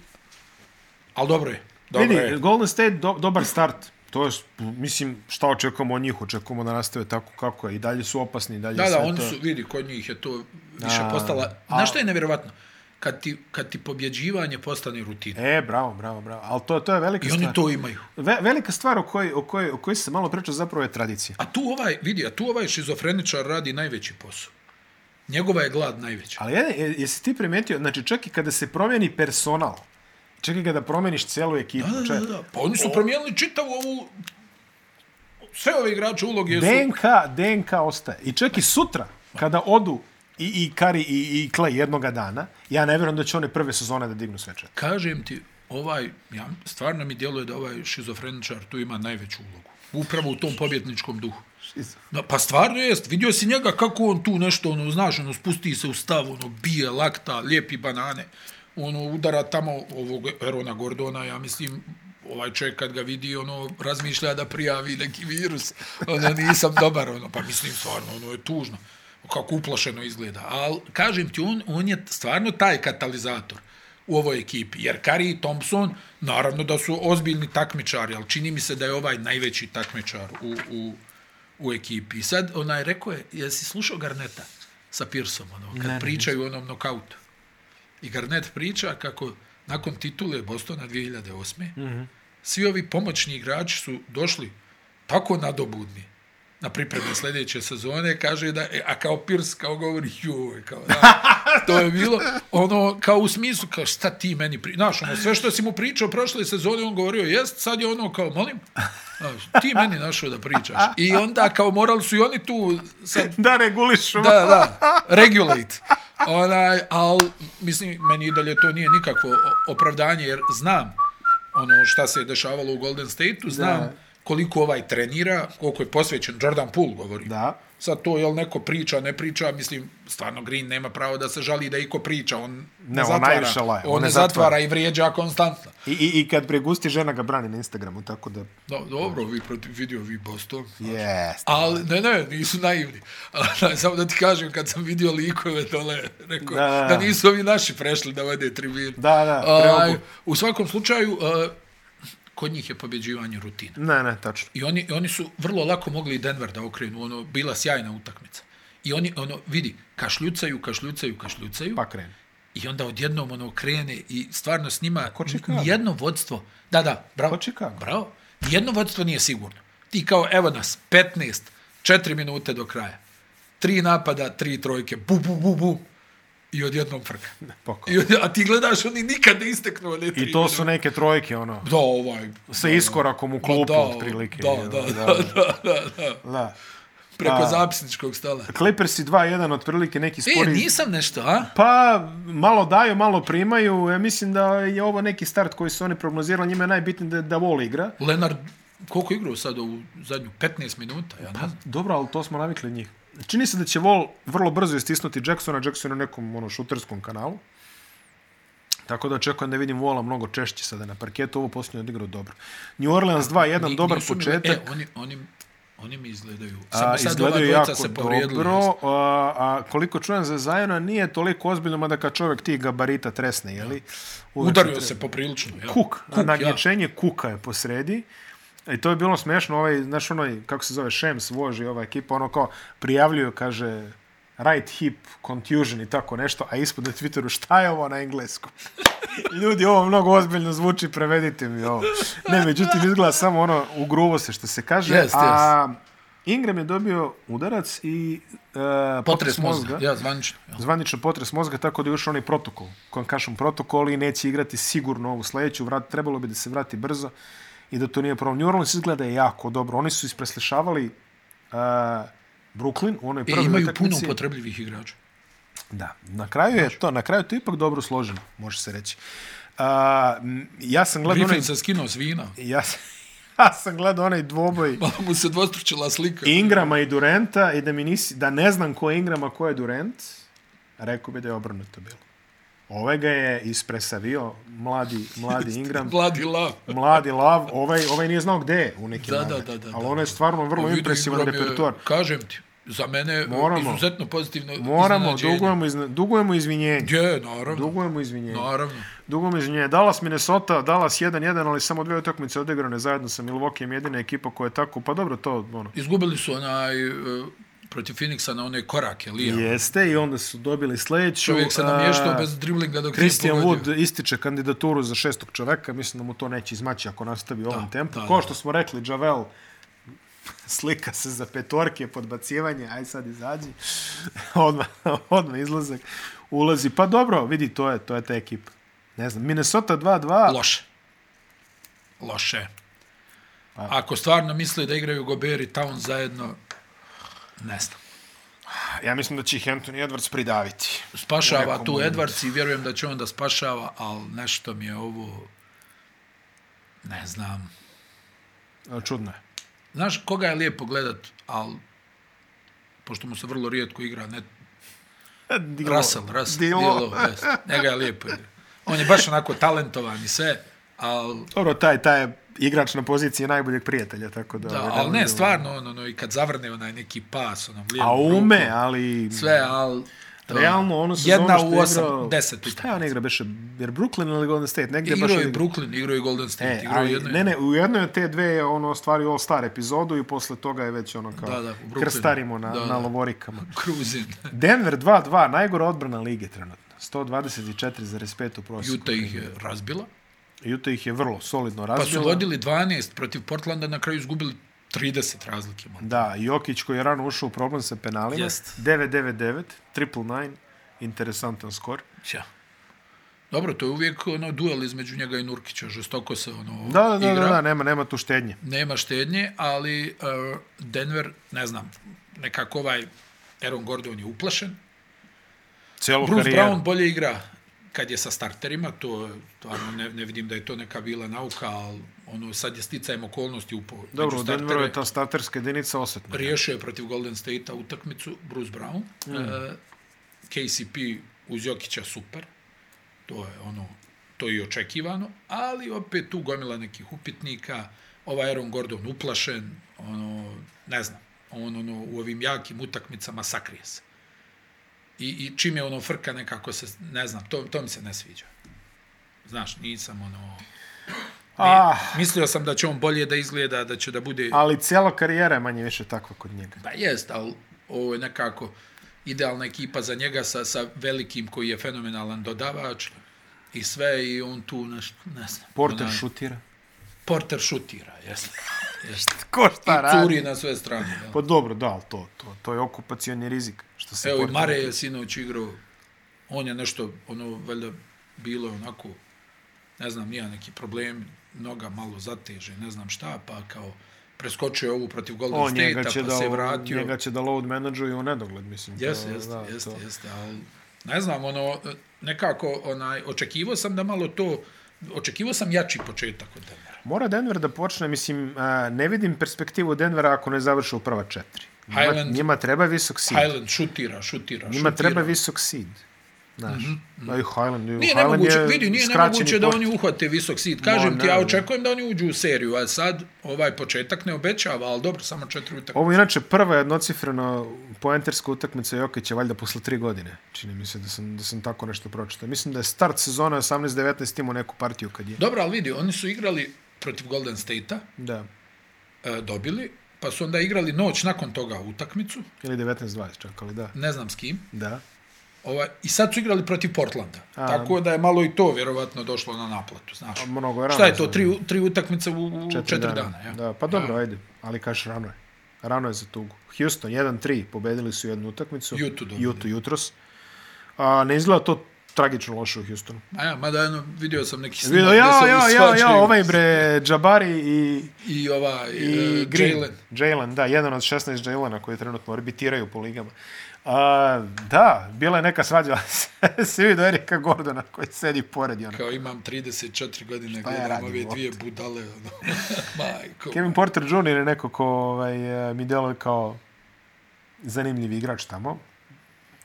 S2: ali dobro je. Dobro
S1: Vidi,
S2: je.
S1: Golden State do, dobar start. To je, mislim, šta očekujemo od njih? Očekujemo da nastave tako kako je. I dalje su opasni, i dalje
S2: Da,
S1: sve
S2: da, oni
S1: to.
S2: su, vidi, kod njih je to više
S1: Da.
S2: postala... Znaš što je nevjerovatno? Kad ti, kad ti pobjeđivanje postane rutina.
S1: E, bravo, bravo, bravo. Ali to, to je velika
S2: I
S1: stvar.
S2: oni to imaju.
S1: Ve, velika stvar o kojoj, o, kojoj, o kojoj se malo priča zapravo je tradicija.
S2: A tu ovaj, vidi, a tu ovaj šizofreničar radi najveći posao. Njegova je glad najveća.
S1: Ali je, je, jesi ti primetio, znači čak i kada se promijeni personal, čak i kada promijeniš celu ekipu,
S2: Da, da,
S1: čak-
S2: da, da. Pa oni su promijenili čitavu ovu... Sve ove igrače uloge su...
S1: DNK, DNK ostaje. I čak i sutra, kada odu i, i Kari i, i Clay jednoga dana, ja ne vjerujem da će one prve sezone da dignu sve četiri.
S2: kažem ti, ovaj, ja, stvarno mi djeluje da ovaj šizofreničar tu ima najveću ulogu. Upravo u tom pobjetničkom duhu. No, pa stvarno jest, vidio si njega kako on tu nešto, ono, znaš, ono, spusti se u stav, ono, bije lakta, lijepi banane, ono, udara tamo ovog Erona Gordona, ja mislim, ovaj čovjek kad ga vidi, ono, razmišlja da prijavi neki virus, ono, nisam dobar, ono, pa mislim, stvarno, ono, je tužno, kako uplašeno izgleda, ali, kažem ti, on, on je stvarno taj katalizator u ovoj ekipi, jer Kari i Thompson, naravno da su ozbiljni takmičari, ali čini mi se da je ovaj najveći takmičar u, u, u ekipi. I sad, onaj, rekao je, jesi slušao Garneta sa Pearsom, ono, kad ne, pričaju o onom nokautu? I Garnet priča kako nakon titule Bostona 2008. Mm -hmm. Svi ovi pomoćni igrači su došli tako nadobudni. na pripremi sljedeće sezone, kaže da, e, a kao Pirs, kao govori, joj, kao da, to je bilo, ono, kao u smislu, kao šta ti meni, pri... znaš, ono, sve što si mu pričao prošle sezone, on govorio, jest, sad je ono, kao, molim, znaš, ti meni našao da pričaš. I onda, kao, morali su i oni tu, sad,
S1: Da regulišu.
S2: da, da, regulate. Onaj, al, mislim, meni dalje to nije nikakvo o- opravdanje, jer znam ono šta se je dešavalo u Golden State-u, znam
S1: Da.
S2: koliko ovaj trenira, koliko je posvećen, Jordan Poole govori.
S1: Da.
S2: Sad to, jel neko priča, ne priča, mislim, stvarno Green nema pravo da se žali da iko priča, on ne,
S1: on
S2: zatvara,
S1: najviše laje,
S2: on, ne zatvara.
S1: zatvara
S2: i vrijeđa konstantno.
S1: I, i, I kad pregusti, žena ga brani na Instagramu, tako da...
S2: No, dobro, vi protiv vidio vi Boston.
S1: Jest.
S2: Ali, ne, ne, nisu naivni. Ali, Samo da ti kažem, kad sam vidio likove dole, rekao,
S1: Da,
S2: da,
S1: da, da.
S2: da. nisu ovi naši prešli da vode tribinu.
S1: Da, da, preobu.
S2: u svakom slučaju, a, kod njih je pobjeđivanje rutina.
S1: Ne, ne, tačno.
S2: I oni, oni su vrlo lako mogli i Denver da okrenu, ono, bila sjajna utakmica. I oni, ono, vidi, kašljucaju, kašljucaju, kašljucaju.
S1: Pa kreni.
S2: I onda odjednom ono krene i stvarno s njima
S1: Ko Chicago?
S2: jedno vodstvo. Da, da, bravo.
S1: Ko Chicago?
S2: Bravo. Jedno vodstvo nije sigurno. Ti kao evo nas 15, 4 minute do kraja. Tri napada, tri trojke, bu bu bu bu. I odjednom frka.
S1: Poko.
S2: I, od- a ti gledaš, oni nikad ne isteknu one tri
S1: I to su
S2: minute.
S1: neke trojke, ono,
S2: Da, ovaj...
S1: sa iskorakom u klupu,
S2: da,
S1: otprilike.
S2: da,
S1: jel,
S2: da, da, da, da, da.
S1: da.
S2: Preko
S1: A-
S2: zapisničkog stala.
S1: Clippersi 2-1, otprilike neki
S2: E,
S1: spori...
S2: nisam nešto, a?
S1: Pa, malo daju, malo primaju. Ja mislim da je ovo neki start koji su oni prognozirali. Njima je najbitnije da, da Wall igra.
S2: Lenard, koliko je igrao sad u zadnju 15 minuta?
S1: Pa,
S2: Ja ne znam.
S1: Dobro, ali to smo navikli od njih. Čini se da će Wall vrlo brzo istisnuti Jacksona. Jackson je na nekom ono, šuterskom kanalu. Tako da očekujem da vidim Walla mnogo češće sada na parketu. Ovo posljednje je odigrao dobro. New Orleans 2-1,
S2: Ni-
S1: dobar
S2: nisu mi-
S1: početak.
S2: E, oni, oni, oni mi izgledaju.
S1: A,
S2: Samo sad ova
S1: izgledaju
S2: dvojica
S1: jako
S2: se povrijedili.
S1: dobro. A, a, koliko čujem za Zajona, nije toliko ozbiljno, mada kad čovjek tih gabarita tresne, jeli? Uvek
S2: Udario
S1: treba-
S2: se poprilično. Ja.
S1: Kuk, Kuk
S2: ja.
S1: nagnječenje ja. Kuka je posredi. I to je bilo smešno, ovaj, znaš onaj, kako se zove, Shams voži ova ekipa, ono kao prijavljuju, kaže, right hip contusion i tako nešto, a ispod na Twitteru šta je ovo na engleskom? I Ljudi, ovo mnogo ozbiljno zvuči, prevedite mi ovo. Ne, međutim, izgleda samo ono, ugruvo se što se kaže,
S2: Jest,
S1: a Ingram je dobio udarac i e, potres,
S2: Potres mozga. Ja, zvanično. Ja.
S1: zvanično potres mozga, tako da je još onaj protokol, concussion protokol i neće igrati sigurno ovu sledeću, vrat, trebalo bi da se vrati brzo i da to nije problem. New Orleans izgleda jako dobro. Oni su ispreslišavali uh, Brooklyn u onoj
S2: E,
S1: prvoj
S2: imaju puno
S1: utakmici.
S2: upotrebljivih igrača.
S1: Da, na kraju je to, na kraju je to ipak dobro složeno, može se reći. Uh, m, ja sam gledao onaj,
S2: Griffin se skinuo s vina.
S1: ja sam, ja sam gledao onaj dvoboj
S2: Malo mu se dvostručila slika.
S1: Ingrama i Durenta i da, mi nisi, da ne znam ko je Ingram, a ko je Durent, rekao bi da je obrnuto bilo. Ovaj ga je ispresavio, mladi, mladi Ingram,
S2: Vladi Lav.
S1: mladi Lav, ovaj, ovaj nije znao gde je u nekim
S2: Da, da,
S1: momentu.
S2: da, da,
S1: Ali
S2: da.
S1: ono je stvarno vrlo
S2: Vidi,
S1: impresivan
S2: Ingram je,
S1: repertoar.
S2: Kažem ti, za mene
S1: Moramo.
S2: Moramo. izuzetno pozitivno
S1: Moramo,
S2: iznenađenje.
S1: dugujemo, izne, dugujemo izvinjenje.
S2: Je, naravno.
S1: Dugujemo izvinjenje.
S2: Naravno.
S1: Dugom izvinjenje. Dallas Minnesota, Dallas 1-1, ali samo dve utakmice odigrane zajedno sa Milwaukeeom, jedina ekipa koja je tako, pa dobro to, ono,
S2: Izgubili su onaj e, protiv Phoenixa na one korake, Lija.
S1: Jeste, i onda su dobili sledeću.
S2: Čovjek se
S1: a,
S2: namještao bez driblinga dok
S1: E. Christian
S2: nije pogodio.
S1: Wood ističe kandidaturu za šestog čoveka, mislim da mu to neće izmaći ako nastavi u ovom
S2: Da,
S1: tempu.
S2: da,
S1: Ko
S2: da.
S1: što smo rekli, Javel slika se za petorke, podbacivanje, aj sad izađi, odmah, odmah izlazak, ulazi. Pa dobro, vidi, to je, to je ta ekipa. Ne znam, Minnesota 2-2,
S2: Loše. Loše.
S1: Pa-
S2: Ako stvarno misle da igraju Gober i Town zajedno, ne znam.
S1: ja mislim da će ih Anthony Edwards pridaviti. U
S2: Spašava
S1: nekom
S2: tu
S1: momentu.
S2: Edwards i vjerujem da će on da spašava, ali nešto mi je ovo... Ne znam.
S1: E, Čudno je.
S2: Znaš, koga je lijepo gledat, ali pošto mu se vrlo rijetko igra, ne,
S1: E, Dilo.
S2: Russell, Russell,
S1: Dilo.
S2: Dilo, jest. njega je lijepo igra. On je baš onako talentovan i sve, ali
S1: Dobro, taj, taj je igrač na poziciji najboljeg prijatelja, tako da...
S2: Da,
S1: ovaj,
S2: ali ne,
S1: mogu-
S2: stvarno, ono, ono, i kad zavrne onaj neki pas, ono, lijevo.
S1: A ume, ali...
S2: Sve, ali... to-
S1: Mm. Realno, ono sezono
S2: Jedna
S1: što
S2: u
S1: je
S2: osam,
S1: igrao-
S2: deset.
S1: Šta je on igra, beše, jer Brooklyn ili Golden State, negdje
S2: Igrao
S1: baš...
S2: je Brooklyn, igrao je Golden State,
S1: E,
S2: igrao je
S1: ali,
S2: jedno.
S1: ne, ne, u jednoj od te dve je ono stvari All-Star epizodu i posle toga je već ono kao
S2: Da, da, u Brooklynu.
S1: krstarimo na,
S2: Da, da.
S1: na lovorikama.
S2: Cruzin.
S1: Denver 2-2, najgora odbrana lige trenutno. 124,5 u prosjeku.
S2: Utah ih je razbila.
S1: Utah ih je vrlo solidno
S2: Pa su
S1: razbila.
S2: vodili 12 protiv Portlanda, na kraju izgubili 30 razlike. Man.
S1: Da, Jokić koji je rano ušao u problem sa penalima.
S2: Jest.
S1: 9-9-9, triple nine, interesantan skor.
S2: Ja. Dobro, to je uvijek ono, duel između njega i Nurkića, žestoko se ono
S1: Da, da, da,
S2: igra.
S1: da, da, nema, nema tu štednje.
S2: Nema štednje, ali uh, Denver, ne znam, nekako ovaj Aaron Gordon je uplašen.
S1: Celu
S2: Bruce
S1: karijeru.
S2: Brown bolje igra kad je sa starterima, to je- stvarno ne, ne vidim da je to neka bila nauka, ali ono, sad je sticajem okolnosti upo.
S1: Dobro,
S2: među
S1: u Denveru je
S2: startere.
S1: ta starterska jedinica osetna.
S2: Riješio je protiv Golden State-a utakmicu Bruce Brown. Mm. E, KCP uz Jokića super. To je ono to je i očekivano, ali opet tu gomila nekih upitnika. Ovaj Aaron Gordon uplašen, ono, ne znam, on ono, u ovim jakim utakmicama sakrije se. I, i čim je ono frka nekako se, ne znam, to, to mi se ne sviđa. Znaš, nisam ono...
S1: Ah.
S2: Mislio sam da će on bolje da izgleda, da će da bude...
S1: Ali cijela karijera je manje više takva kod njega.
S2: Pa jest, ali ovo je nekako idealna ekipa za njega sa, sa velikim koji je fenomenalan dodavač i sve i on tu, neš, ne znam.
S1: Porter
S2: onaj-
S1: šutira.
S2: Porter šutira, jeste. jeste.
S1: Ko šta
S2: I curi na sve strane. Da.
S1: Pa dobro, da, ali to, to, to je okupacioni rizik. Što se
S2: Evo i
S1: Porter-
S2: Mare je sinoć igrao, on je nešto, ono, valjda bilo je onako, ne znam, nija neki problem, noga malo zateže, ne znam šta, pa kao preskočio je ovu protiv Golden
S1: On njega
S2: State-a,
S1: će,
S2: pa
S1: da,
S2: se vratio.
S1: njega će da load manageruju u nedogled, mislim. to-
S2: Jeste, jeste,
S1: da,
S2: jeste,
S1: to.
S2: jeste, ali ne znam, ono, nekako, onaj, očekivao sam da malo to, očekivao sam jači početak od Denvera.
S1: Mora Denver da počne, mislim, a, ne vidim perspektivu Denvera ako ne završe u prva četiri. Njima,
S2: Highland-
S1: njima treba visok seed.
S2: Highland šutira, šutira,
S1: njima
S2: šutira. Mhm,
S1: treba visok seed. Znaš, mm -hmm. i Highland,
S2: Nije
S1: Highland
S2: nemoguće,
S1: je
S2: vidi, nije
S1: skraćeni
S2: nemoguće da
S1: port.
S2: oni uhvate visok seed. Kažem
S1: Ma,
S2: ti, ja
S1: ne, ne.
S2: očekujem da oni uđu u seriju, a sad ovaj početak ne obećava, ali dobro, samo četiri utakmice.
S1: Pa Ovo je inače prva jednocifrena poenterska utakmica Jokića, valjda posle tri godine. Čini mi se da sam, da sam tako nešto pročitao. Mislim da je start sezona 18-19 imao neku partiju kad je.
S2: Dobro, ali vidi, oni su igrali protiv Golden State-a,
S1: Da.
S2: e, dobili, pa su onda igrali noć nakon toga utakmicu,
S1: Ili 19-20 čak, ali da.
S2: ne znam s kim,
S1: Da.
S2: Ovaj, I sad su igrali protiv Portlanda. A, tako da je malo i to vjerovatno došlo na naplatu, znaš.
S1: A mnogo je rano
S2: Šta je to,
S1: za-
S2: tri, tri utakmice u, u četiri, dana. ja.
S1: Da, pa dobro, ajde. Ali kaš rano je. Rano je za tugu. Houston 1-3, pobedili su jednu utakmicu.
S2: Utah dobili.
S1: Jutu jutros. A, ne izgleda to tragično loše u Houstonu.
S2: A ja, mada jedno, vidio sam neki snimak
S1: Ja,
S2: gdje se
S1: ja,
S2: ovi
S1: ja, ja,
S2: svađaju
S1: ja, ovaj bre, Jabari i
S2: I ovaj,
S1: i
S2: i
S1: Green.
S2: Jalen.
S1: Jalen, da, jedan od 16 Jalena koji trenutno orbitiraju po ligama. A, da, bila je neka svađa. Svi vidio Erika Gordona koji sedi pored. i Ono.
S2: Kao imam 34 godine,
S1: Pa ja
S2: gledam
S1: radim
S2: ove
S1: uopće?
S2: dvije budale. Ono. Majko.
S1: Kevin Porter Jr. je neko ko ovaj, e, mi deluje kao zanimljiv igrač tamo.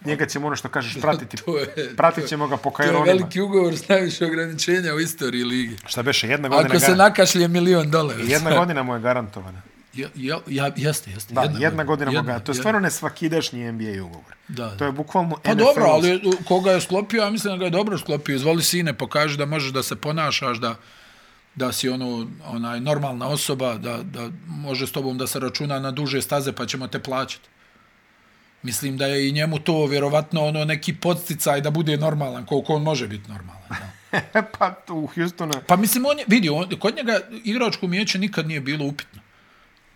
S1: Njega ćemo ono što kažeš pratiti.
S2: To je,
S1: Pratit ćemo ga po
S2: to je
S1: Kajronima.
S2: veliki ugovor s najviše ograničenja u istoriji ligi.
S1: Šta beše, jedna godina,
S2: Ako se
S1: gar...
S2: nakašlje milion dolara.
S1: jedna godina mu je garantovana.
S2: Ja, ja, ja, jeste, jeste.
S1: Da, jedna, godina mu je garantovana. To je
S2: jedna.
S1: stvarno nesvakidašnji NBA ugovor.
S2: Da,
S1: To je bukvalno
S2: Pa
S1: NFL
S2: dobro, ali u, koga je sklopio, ja mislim da ga je dobro sklopio. Izvoli sine, pokaži da možeš da se ponašaš, da, da si ono, onaj, normalna osoba, da, da može s tobom da se računa na duže staze, pa ćemo te plaćati. Mislim da je i njemu to vjerovatno ono neki podsticaj da bude normalan, koliko on može biti normalan. Da.
S1: pa tu u Houstonu
S2: Pa mislim, on je, vidi, on, kod njega igračko umijeće nikad nije bilo upitno.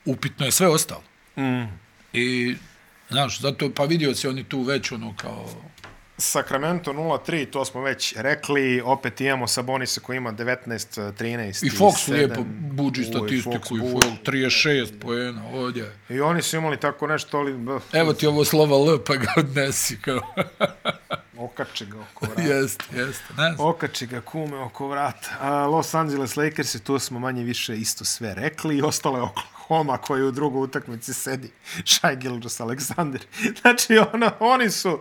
S2: Upitno je sve ostalo. Mm. I, znaš, zato, pa vidio si oni tu već ono kao,
S1: Sacramento 0-3, to smo već rekli, opet imamo Sabonisa koji ima 19-13
S2: I Fox
S1: sedam.
S2: lijepo buđi
S1: Oj,
S2: statistiku i
S1: Fox
S2: Fox 36 poena ovdje.
S1: I oni su imali tako nešto, ali bf,
S2: Evo ti ovo slova L pa ga odnesi kao.
S1: okače ga oko vrata.
S2: jeste, jeste. Ne znam.
S1: Okači ga kume oko vrata. A Los Angeles Lakers i tu smo manje više isto sve rekli i ostalo je Oklahoma koji u drugoj utakmici sedi. Shai Gilgis Alexander. Znači, ono, oni su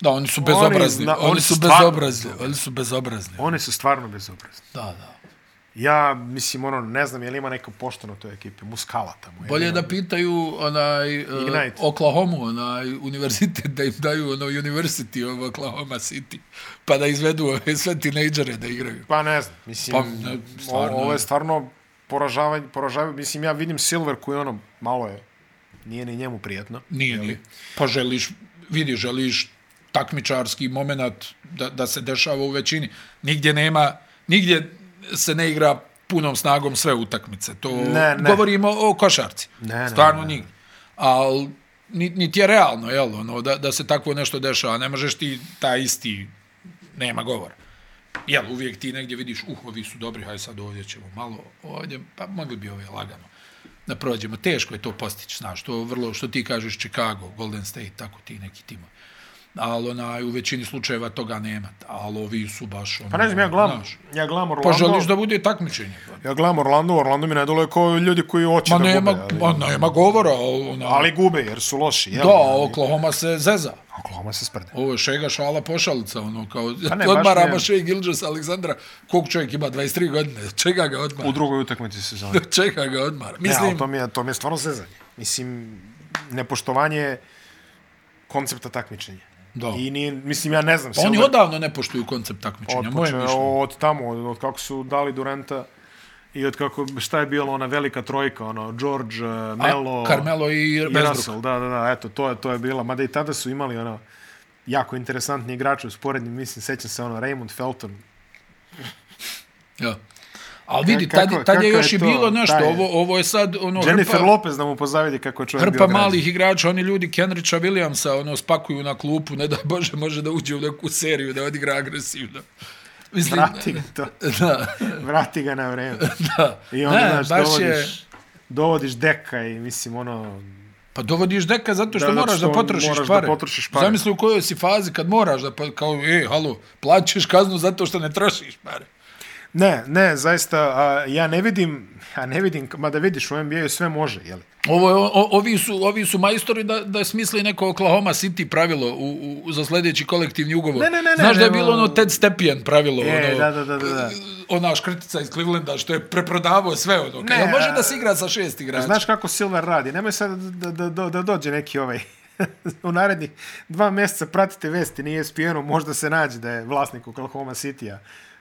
S2: Da, oni su
S1: Oni
S2: bezobrazni.
S1: zna-
S2: Oni,
S1: oni
S2: su
S1: stvarno
S2: bezobrazni. Oni su bezobrazni.
S1: oni su stvarno bezobrazni.
S2: Da, da.
S1: Ja, mislim, ono, ne znam, je li ima neko pošteno u toj ekipi? Muskala tamo. je li
S2: Bolje je
S1: ima?
S2: da pitaju onaj uh,
S1: Ignite.
S2: Oklahoma, onaj univerzitet da im daju ono University of Oklahoma City, pa da izvedu ove sve tinejdžere da igraju.
S1: Pa ne znam, mislim,
S2: Pa, ne, stvarno
S1: o- ovo
S2: je.
S1: je stvarno poražavanje, poražavanje, mislim, ja vidim Silver koji ono, malo je, nije ni njemu prijetno.
S2: Nije, nije. Pa želiš, vidi, želiš takmičarski moment da, da se dešava u većini. Nigdje nema, nigdje se ne igra punom snagom sve utakmice. To
S1: Ne, ne.
S2: govorimo o košarci.
S1: Ne, ne,
S2: Stvarno
S1: ne, ne.
S2: njih. Al ni- niti je realno, jel, ono, da, da se takvo nešto dešava. Ne možeš ti taj isti, nema govora. Jel, uvijek ti negdje vidiš, uh, ovi su dobri, hajde sad ovdje ćemo malo, ovdje, pa mogli bi ove lagano da prođemo. Teško je to postići, znaš, to vrlo, što ti kažeš Chicago, Golden State, tako ti neki timovi. Ali onaj, u većini slučajeva toga nema, ali ovi su baš ono...
S1: Pa ne znam, ja glam,
S2: znaš,
S1: ja glam Orlando.
S2: Poželiš da bude takmičenje.
S1: Ja glam Orlando, Orlando mi ne dole kao ljudi koji hoće
S2: Ma
S1: da
S2: nema,
S1: gube.
S2: ma
S1: Ali,
S2: nema govora. o- Ona,
S1: ali gube jer su loši. Jel?
S2: da, Oklahoma se zeza.
S1: Oklahoma se sprde.
S2: Ovo je šega šala pošalica, ono kao...
S1: Pa ne, baš
S2: odmaramo
S1: ne.
S2: Shea Gilgis Aleksandra, kog čovjek ima 23 godine, od čega ga odmara?
S1: U drugoj utakmici sezone.
S2: Od čega ga odmara?
S1: Ne,
S2: Mislim,
S1: E, ali to mi, je, to mi je stvarno zezanje. Mislim, nepoštovanje koncepta takmičenja.
S2: da.
S1: I nije, mislim, ja ne znam.
S2: Pa oni
S1: Silver-
S2: odavno ne poštuju koncept takmičenja, Znači, moje
S1: Otpočeo
S2: mišljenje.
S1: od tamo, od, od kako su dali Durenta i od kako, šta je bilo ona velika trojka, ono, George, eh, Melo,
S2: A, Carmelo i
S1: i
S2: Westbrook.
S1: Russell, da, da, da, eto, to je, to je bila, mada i tada su imali, ono, jako interesantni igrači u sporednim, mislim, sećam se, ono, Raymond Felton,
S2: Ja. Ali vidi,
S1: Kako-
S2: tad, tad
S1: kako
S2: je još
S1: je
S2: i
S1: to?
S2: bilo nešto,
S1: Taj je.
S2: ovo, ovo je sad ono...
S1: Jennifer
S2: hrpa-
S1: Lopez da mu pozavidi kako je čovjek
S2: Hrpa
S1: građan.
S2: malih igrača, oni ljudi Kenricha Williamsa ono spakuju na klupu, ne da Bože može da uđe u neku seriju, da odigra agresivno. Mislim,
S1: Vrati ga to,
S2: da,
S1: vrati ga na vreme.
S2: da.
S1: I onda,
S2: Ne,
S1: znaš,
S2: baš je-
S1: dovodiš, dovodiš deka i, mislim, ono,
S2: Pa dovodiš deka zato što
S1: Da,
S2: da,
S1: zato
S2: moraš
S1: što
S2: da potrošiš
S1: moraš da
S2: pare.
S1: potrošiš pare.
S2: Zamisli u kojoj si fazi kad moraš da, pa, kao, e, halo, plaćaš kaznu zato što ne trošiš pare.
S1: Ne, ne, zaista, a, ja ne vidim, a ne vidim, mada vidiš u NBA-u sve može, jeli?
S2: Ovo je, o, ovi, su, ovi su majstori da, da smisli neko Oklahoma City pravilo u, u, za sljedeći kolektivni ugovor.
S1: Ne, ne, ne, ne,
S2: Znaš da je
S1: ne,
S2: bilo
S1: ne.
S2: ono Ted Stepien pravilo.
S1: E,
S2: ono,
S1: da, da, da, da, da.
S2: ona škrtica iz Clevelanda što je preprodavao sve ono.
S1: Ne,
S2: Ne, Jel može
S1: a-
S2: da se igra sa šest igrača?
S1: Znaš kako Silver radi, nemoj sad da, da, da, da dođe neki ovaj, u narednih dva mjeseca pratite vesti na E ESPN-u, možda se nađe da je vlasnik Oklahoma City-a.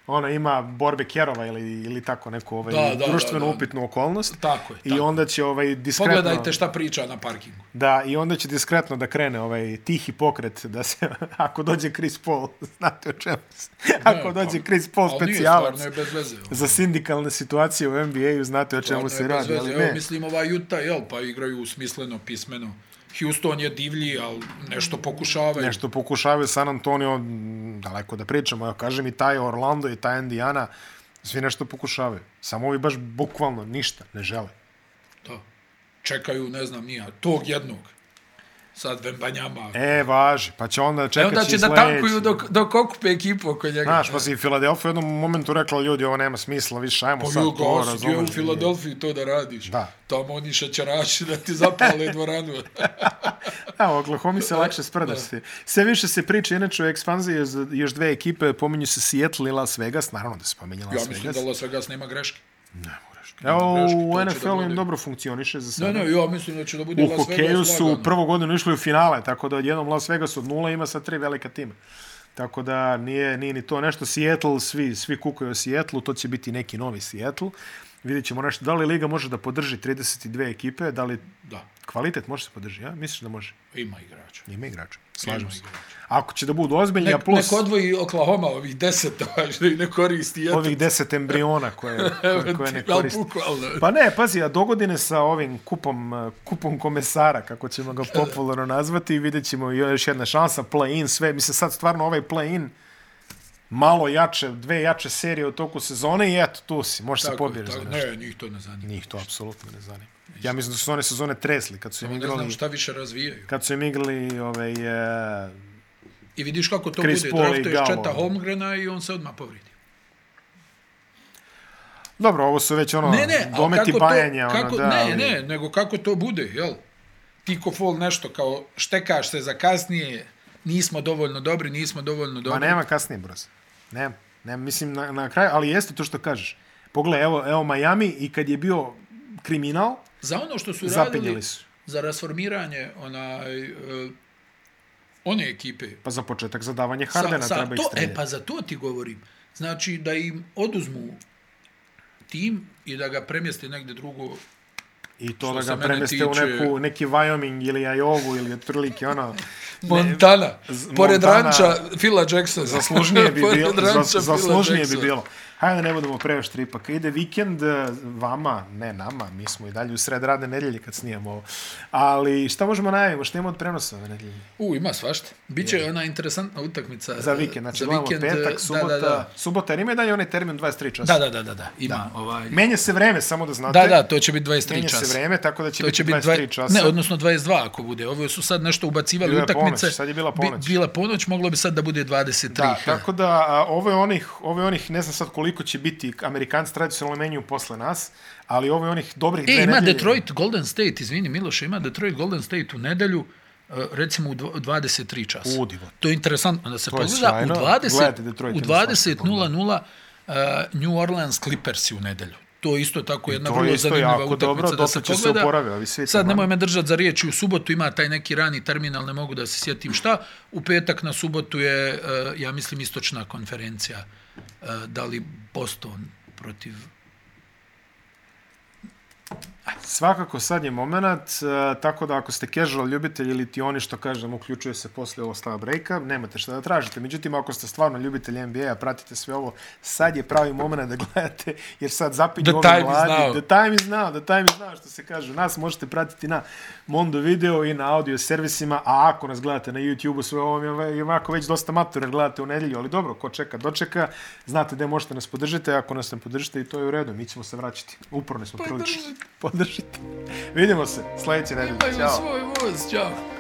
S1: Ono ima borbe kerova ili, ili tako neku ovaj,
S2: Da, da,
S1: društveno
S2: da, da.
S1: upitnu okolnost.
S2: Tako je,
S1: I
S2: tako.
S1: onda će ovaj diskretno...
S2: Pogledajte šta priča na parkingu.
S1: Da, i onda će diskretno da krene ovaj tihi pokret da se, ako dođe Chris Paul, znate o čemu se, ako dođe Chris Paul
S2: pa, Ali nije
S1: specijalac
S2: stvarno je bez veze. ono.
S1: za sindikalne situacije u NBA-u, znate o čemu
S2: Stvarno je
S1: se
S2: bez
S1: radi,
S2: veze.
S1: ali
S2: Evo,
S1: ne.
S2: Mislim, ova Utah, jel, pa igraju smisleno, pismeno. Houston je divlji, ali nešto pokušavaju.
S1: Nešto pokušavaju San Antonio, m, daleko da pričamo, ja kažem i taj Orlando i taj Indiana, svi nešto pokušavaju. Samo ovi baš bukvalno ništa ne žele.
S2: Da. Čekaju, ne znam, nija, tog jednog. Sad Vembanjama. E,
S1: E, važi, pa će onda
S2: e
S1: čekati
S2: onda će da tankuju dok, dok okupe ekipu oko njega.
S1: Znaš, pa si i Filadelfija u jednom momentu rekla, ljudi, ovo nema smisla, više ajmo sad
S2: E, pa Ju,
S1: to,
S2: gosu, ti je u
S1: razumeš?
S2: Filadelfiji to da radiš.
S1: Da.
S2: Tamo oni šećeraši da ti zapale dvoranu.
S1: Da, u Oklahoma se lakše sprdaš se. Sve više se priča, inače, o ekspanziji još, još dve ekipe, pominju se Seattle i Las Vegas, naravno da se pominje Las
S2: ja
S1: Vegas.
S2: mislim da Las Vegas nema greške.
S1: Evo,
S2: greške,
S1: u
S2: to će da
S1: NFL-u im
S2: bude.
S1: dobro funkcioniše za
S2: Ne,
S1: sada.
S2: ne, ja mislim da će da bude
S1: U
S2: Las Vegas
S1: hokeju su
S2: lagano.
S1: prvu godinu išli u finale, tako da odjednom Las Vegas od nula ima sad tri velika tima. Tako da nije, nije ni to nešto. Seattle, svi, svi kukaju o Seattleu, to će biti neki novi Seattle. Vidjet ćemo nešto. Da li Liga može da podrži 32 ekipe? Da li
S2: Da,
S1: kvalitet može se podrži? Ja? Misliš da može?
S2: ima igrača.
S1: Ima igrača.
S2: Ima
S1: Slažem se.
S2: igrača.
S1: Ako će da budu ozbiljni, a
S2: Nek,
S1: plus...
S2: Nek odvoji Oklahoma ovih deset, ovaj, što ih ne koristi. Eto,
S1: ovih 10 embriona koje, koje, koje ne
S2: Ja,
S1: koriste.
S2: bukvalno.
S1: Pa ne, pazi, a dogodine sa ovim kupom, eh, kupom komesara, kako ćemo ga popularno nazvati, vidjet ćemo još jedna šansa, play-in, sve. Mislim, sad stvarno ovaj play-in malo jače, dve jače serije u toku sezone i eto, tu si, može se
S2: Tako,
S1: pobjeriš za
S2: tako,
S1: nešto.
S2: ne, njih to ne zanima.
S1: Njih to apsolutno ne zanima. Ja mislim da su one sezone tresli kad su im
S2: Ne znam
S1: igrali,
S2: šta više razvijaju.
S1: kad su im igrali ovaj, eh,
S2: I vidiš kako to
S1: Chris
S2: bude.
S1: Paul i
S2: Draftuješ
S1: Gallo.
S2: Četa Holmgrena i on se odmah povridi.
S1: dobro, ovo su već ono,
S2: Ne, ne, ali
S1: dometi
S2: kako
S1: bajanja.
S2: to,
S1: ono,
S2: kako,
S1: da, ali-
S2: ne, ne, nego kako to bude, jel? Ti ko fol nešto, kao štekaš se za kasnije, nismo dovoljno dobri, nismo dovoljno
S1: Ma
S2: dobri.
S1: Pa nema kasnije brzo. Nema. Nema, mislim na, na kraju, ali jeste to što kažeš. Pogledaj, evo, evo Miami i kad je bio kriminal,
S2: Za ono što su
S1: zapinjali
S2: radili,
S1: su.
S2: za rasformiranje onaj, e, one ekipe,
S1: Pa za početak zadavanje
S2: Sa-
S1: Hardena
S2: sa
S1: treba
S2: to,
S1: ih streljati.
S2: E, pa za to ti govorim. Znači, da im oduzmu tim i da ga premjeste negdje drugo.
S1: I to
S2: što
S1: da
S2: se
S1: ga
S2: mene
S1: premeste u
S2: tiče-
S1: neku, neki Wyoming ili Iowa ili otprilike ono.
S2: Montana,
S1: z-
S2: pored
S1: Montana-
S2: ranča Phila Jacksona.
S1: Zaslužnije bi
S2: Pored
S1: bilo.
S2: ranča
S1: Zas,
S2: Phila
S1: zaslužnije bi
S2: Jacksona.
S1: bilo. Hajde da ne budemo previše tripak. Ide vikend eh, vama, ne nama, mi smo i dalje u sred radne nedelje kad snijemo ovo. Ali šta možemo najavimo? Šta imamo od prenosa ove nedelje?
S2: U, ima svašta. Biće je. ona interesantna utakmica.
S1: Za
S2: eh,
S1: vikend, znači
S2: za
S1: imamo
S2: vikend, eh,
S1: petak, subota.
S2: Da, da,
S1: Subota, jer ima i dalje onaj termin 23 časa.
S2: da. Da, da, da, da, ima da. ovaj...
S1: Menja se vreme, samo da znate.
S2: Da, da, to će biti 23
S1: Menja
S2: časa.
S1: se vreme, tako da će,
S2: To će biti
S1: 23
S2: 23
S1: časa.
S2: Ne, odnosno 22 ako bude. Ovo su sad nešto ubacivali
S1: Bila je
S2: utakmice.
S1: ponoć, sad je bila
S2: Bi-
S1: ponoć.
S2: Bila ponoć, moglo bi sad da bude 23.
S1: Da, tako da a, ovo je onih, ovo je onih, ne znam sad koliko će biti, Amerikanci tradicionalno menjuju posle nas, ali ovo je onih dobrih
S2: E,
S1: dve
S2: ima
S1: nedelje.
S2: Detroit Golden State, izvini Miloše, ima Detroit Golden State u nedelju, e, recimo u dv- 23 časa.
S1: Udivo.
S2: To je interesantno da se
S1: je
S2: pogleda. U
S1: sjajno.
S2: 20,
S1: Gledajte Detroit,
S2: u
S1: ima svašta
S2: 20.00 uh, New Orleans Clippersi u nedelju. To je isto tako jedna
S1: to je
S2: vrlo
S1: isto
S2: zanimljiva
S1: jako
S2: utakmica
S1: dobro,
S2: da
S1: dotle
S2: se
S1: će se
S2: pogleda.
S1: oporaviti ovi svi
S2: Sad
S1: tamo.
S2: nemoj me držati za riječ i u subotu ima taj neki rani terminal, ne mogu da se sjetim šta. U petak na subotu je, e, ja mislim, istočna konferencija. E, Da li Boston protiv...
S1: Svakako sad je moment, e, tako da ako ste casual ljubitelji ili ti oni što kažem uključuje se posle ovog stava breaka, nemate šta da tražite. Međutim, ako ste stvarno ljubitelji NBA, pratite sve ovo, sad je pravi moment da gledate, jer sad zapinju
S2: The
S1: ovi
S2: time is
S1: mladi.
S2: now.
S1: The time is now, the time is now, što se kaže. Nas možete pratiti na Mondo video i na audio servisima, a ako nas gledate na YouTube-u, sve ovo vam je ovako već dosta matur, jer gledate u nedelju, ali dobro, ko čeka, dočeka, znate gde možete nas podržite, ako nas ne podržite i to je u redu, mi ćemo se vraćati. Uporni smo prilično. Podržite. Vidimo se sljedeće nedelje.
S2: Imaju
S1: Ćao.
S2: svoj voz, čao.